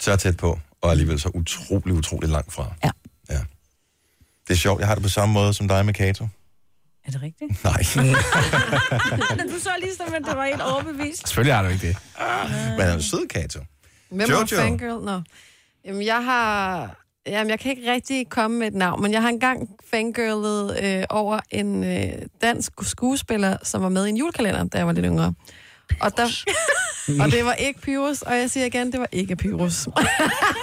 så tæt på, og alligevel så utrolig, utrolig langt fra.
Ja.
ja. Det er sjovt, jeg har det på samme måde som dig med Kato.
Er det rigtigt?
Nej.
du så lige som, at det var helt overbevist.
Selvfølgelig har du ikke det.
Men han er en sød, Kato.
Hvem
Jojo.
er fangirl? Nå. Jamen, jeg har... Jamen, jeg kan ikke rigtig komme med et navn, men jeg har engang fangirlet øh, over en øh, dansk skuespiller, som var med i en julekalender, da jeg var lidt yngre. Og, der, og det var ikke Pyrus, og jeg siger igen, det var ikke Pyrus.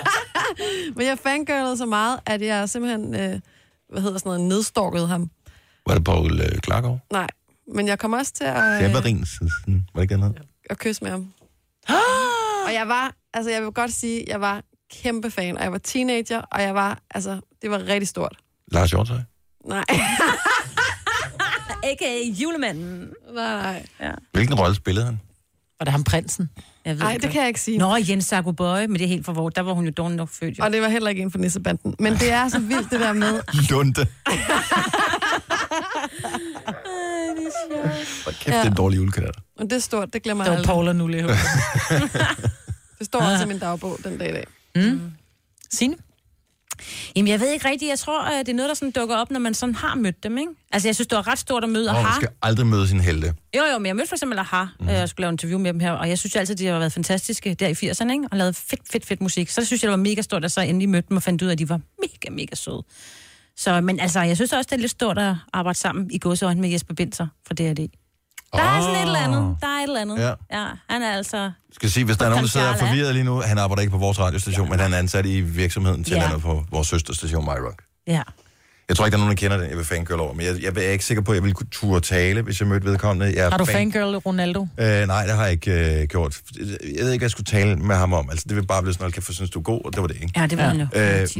men jeg fangirlede så meget, at jeg simpelthen, øh, hvad hedder sådan noget, nedstalkede ham.
Var det Paul øh, Klargaard?
Nej, men jeg kom også til at... øh,
Det var Rinsen. Var det ikke andet?
at kysse med ham. og jeg var, altså jeg vil godt sige, jeg var kæmpe fan, og jeg var teenager, og jeg var, altså, det var rigtig stort.
Lars Hjortøj?
Nej.
A.k.a. julemanden.
Nej, nej.
Ja.
Hvilken rolle spillede han?
Var det ham prinsen?
Jeg ved
Ej, det kan jeg ikke sige.
Nå, Jens Sarko Bøje, men det er helt for vores. Der var hun jo dårlig nok født. Jo.
Og det var heller ikke en for nissebanden. Men det er så vildt, det der med...
Lunde. Hvor kæft, det er en dårlig julekalender.
Og det er Ah. stort, det glemmer
Det
jeg
var
aldrig.
Paul og Nulle. jeg håber.
Det står også i min dagbog den dag i dag.
Mm. Signe?
Jamen, jeg ved ikke rigtigt. Jeg tror, at det er noget, der sådan dukker op, når man sådan har mødt dem, ikke? Altså, jeg synes, det var ret stort at møde
Åh, man
Aha.
skal aldrig møde sin helte.
Jo, jo, men jeg mødte for eksempel Aha, mm. jeg skulle lave en interview med dem her, og jeg synes jo altid, de har været fantastiske der i 80'erne, ikke? Og lavet fedt, fedt, fedt musik. Så synes jeg, det var mega stort, at så endelig mødte dem og fandt ud af, at de var mega, mega søde. Så, men altså, jeg synes også, det er lidt stort at arbejde sammen i godsøjne med Jesper Binser fra D&D. Der er sådan et eller andet. Der er et eller andet.
Ah. Ja.
ja han er altså...
Skal sige, hvis der er nogen, der sidder og er
Charla.
forvirret lige nu, han arbejder ikke på vores radiostation, men han er ansat i virksomheden til
Ja.
ja. på vores søsterstation, MyRock.
Ja.
Jeg tror ikke, der er nogen, der kender den. Jeg vil fangirl over, men jeg, jeg, er ikke sikker på, at jeg ville kunne turde tale, hvis jeg mødte vedkommende. Jeg er
Har du
fan-
fangirl Ronaldo?
Øh, nej, det har jeg ikke øh, gjort. Jeg ved ikke, hvad jeg skulle tale med ham om. Altså, det vil bare blive sådan, at jeg synes, du er god, og det var det, ikke?
Ja, det var han jo.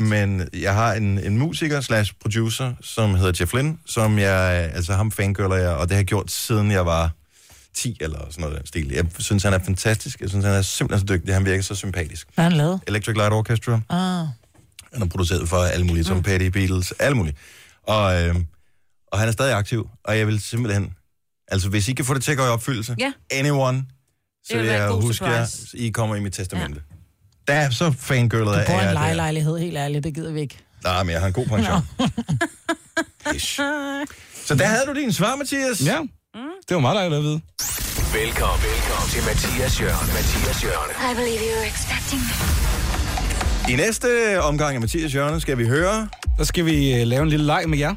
Øh, men jeg har en, en musiker slash producer, som hedder Jeff Lynne, som jeg, altså ham fangirler jeg, og det har jeg gjort siden jeg var 10 eller sådan noget i den stil. Jeg synes, han er fantastisk. Jeg synes, han er simpelthen så dygtig. Han virker så sympatisk.
Hvad har han lavet?
Electric Light Orchestra.
Ah.
Han har produceret for alle mulige, som Patty, Beatles, alle mulige. Og, øh, og han er stadig aktiv, og jeg vil simpelthen... Altså, hvis I kan få det til at gå i opfyldelse,
Ja.
anyone, så
vil
vil
være
jeg
en god
huske jer,
surprise.
I kommer i mit testamente. Ja. Der er så fangirlet
Du
af
bor i en
jer, det er-
lejelejlighed, helt ærligt, det gider vi ikke.
Nej, men jeg har en god pension. Ish. Så der havde du din svar, Mathias.
Ja, det var meget dejligt at vide.
Velkommen, velkommen til Mathias Jørgen. Mathias Jørgen.
I believe you were expecting me.
I næste omgang af Mathias Jørgen skal vi høre...
Så skal vi øh, lave en lille leg med jer.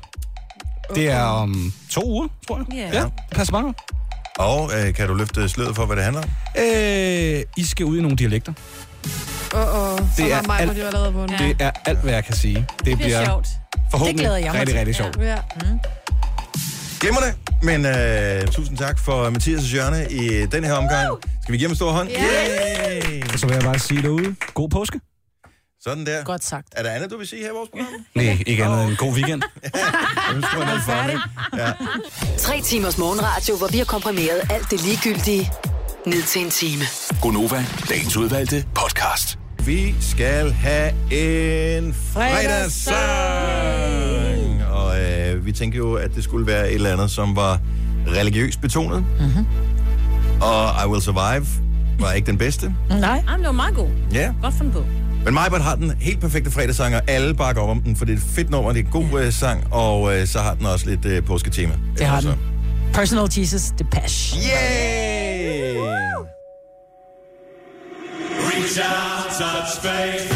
Det er om to uger, tror jeg.
Ja.
Ja, pas meget.
Og øh, kan du løfte sløret for, hvad det handler om?
Øh, I skal ud i nogle dialekter.
Åh, åh, så
Det
var
er
mig,
alt-
hvor de var lavet på den.
Det er alt, hvad jeg kan sige. Det,
bliver sjovt.
Forhåbentlig
Det glæder jeg mig
rigtig,
til.
rigtig sjovt.
Ja. Mm.
Glemmer det, men øh, tusind tak for Mathias Jørgen i den her omgang. Skal vi give ham en stor hånd? Yay!
Og så vil jeg bare sige derude, god påske.
Sådan der.
Godt sagt.
Er der andet, du vil sige her i vores program?
Nej, ikke andet end god weekend.
Tre timers morgenradio, hvor vi har komprimeret alt det ligegyldige ned til en time.
Gonova, dagens udvalgte podcast.
Vi skal have en fredagssang. Og øh, vi tænkte jo, at det skulle være et eller andet, som var religiøst betonet.
Mhm.
Og I Will Survive var ikke den bedste.
Nej.
Jamen, det var meget god.
Ja.
Godt fundet på.
Men Majbert har den helt perfekte fredagssang, og alle bakker op om den, for det er et fedt nummer, det er en god øh, sang, og øh, så har den også lidt øh, påsketema.
Det har
Altså.
den. Personal Jesus Depeche.
Yay!
Reach out, touch faith.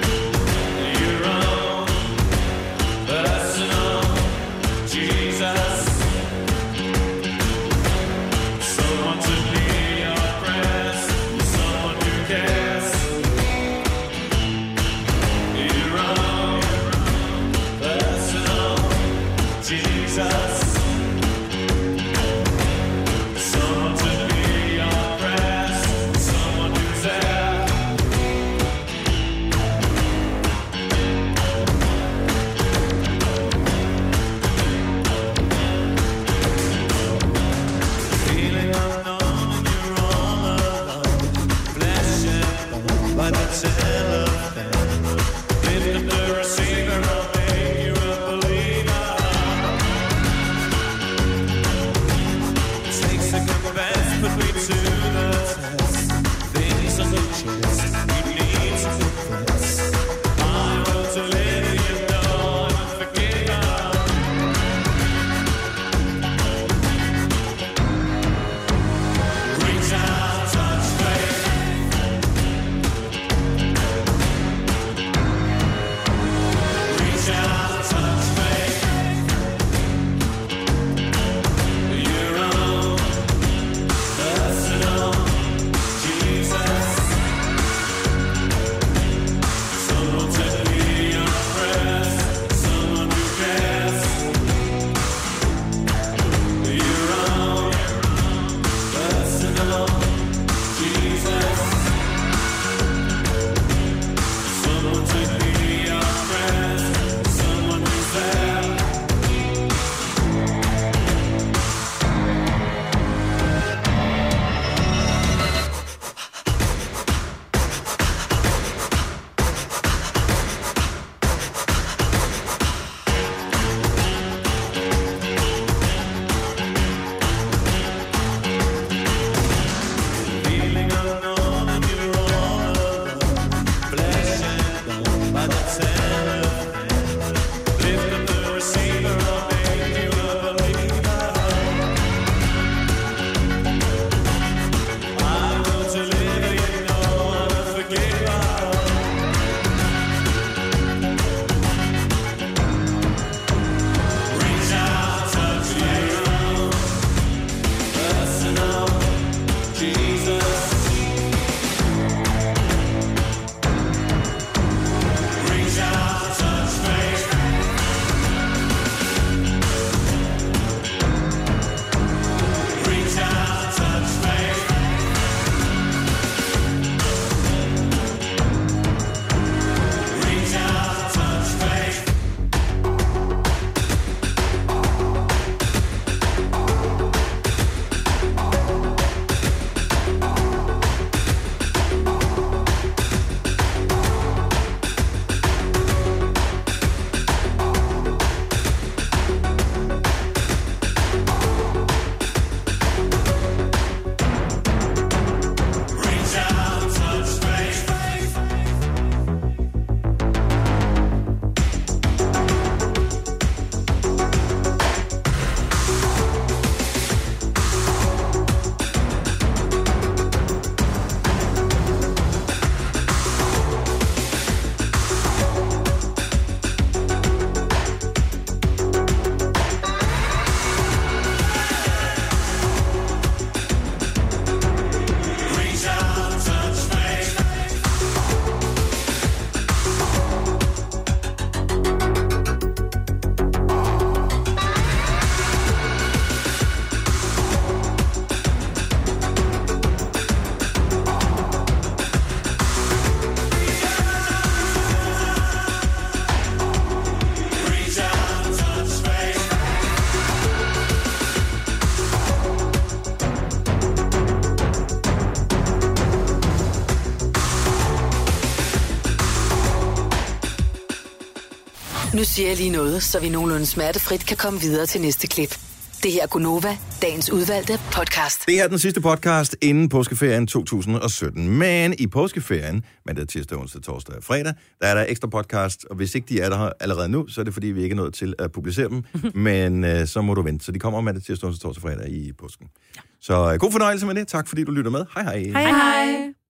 Your own personal Jesus. Someone to be your prayers, someone who cares. Your own personal Jesus. Someone to be your prayers, someone who's there. Reach out, touch faith.
Nu siger jeg lige noget, så vi nogenlunde smertefrit kan komme videre til næste klip. Det her er Gunova, dagens udvalgte podcast.
Det her er den sidste podcast inden påskeferien 2017. Men i påskeferien, mandag, tirsdag, onsdag, torsdag og fredag, der er der ekstra podcast. Og hvis ikke de er der allerede nu, så er det fordi, vi ikke er nået til at publicere dem. Men øh, så må du vente. Så de kommer mandag, tirsdag, onsdag, torsdag og fredag i påsken. Så øh, god fornøjelse med det. Tak fordi du lytter med. Hej hej.
hej.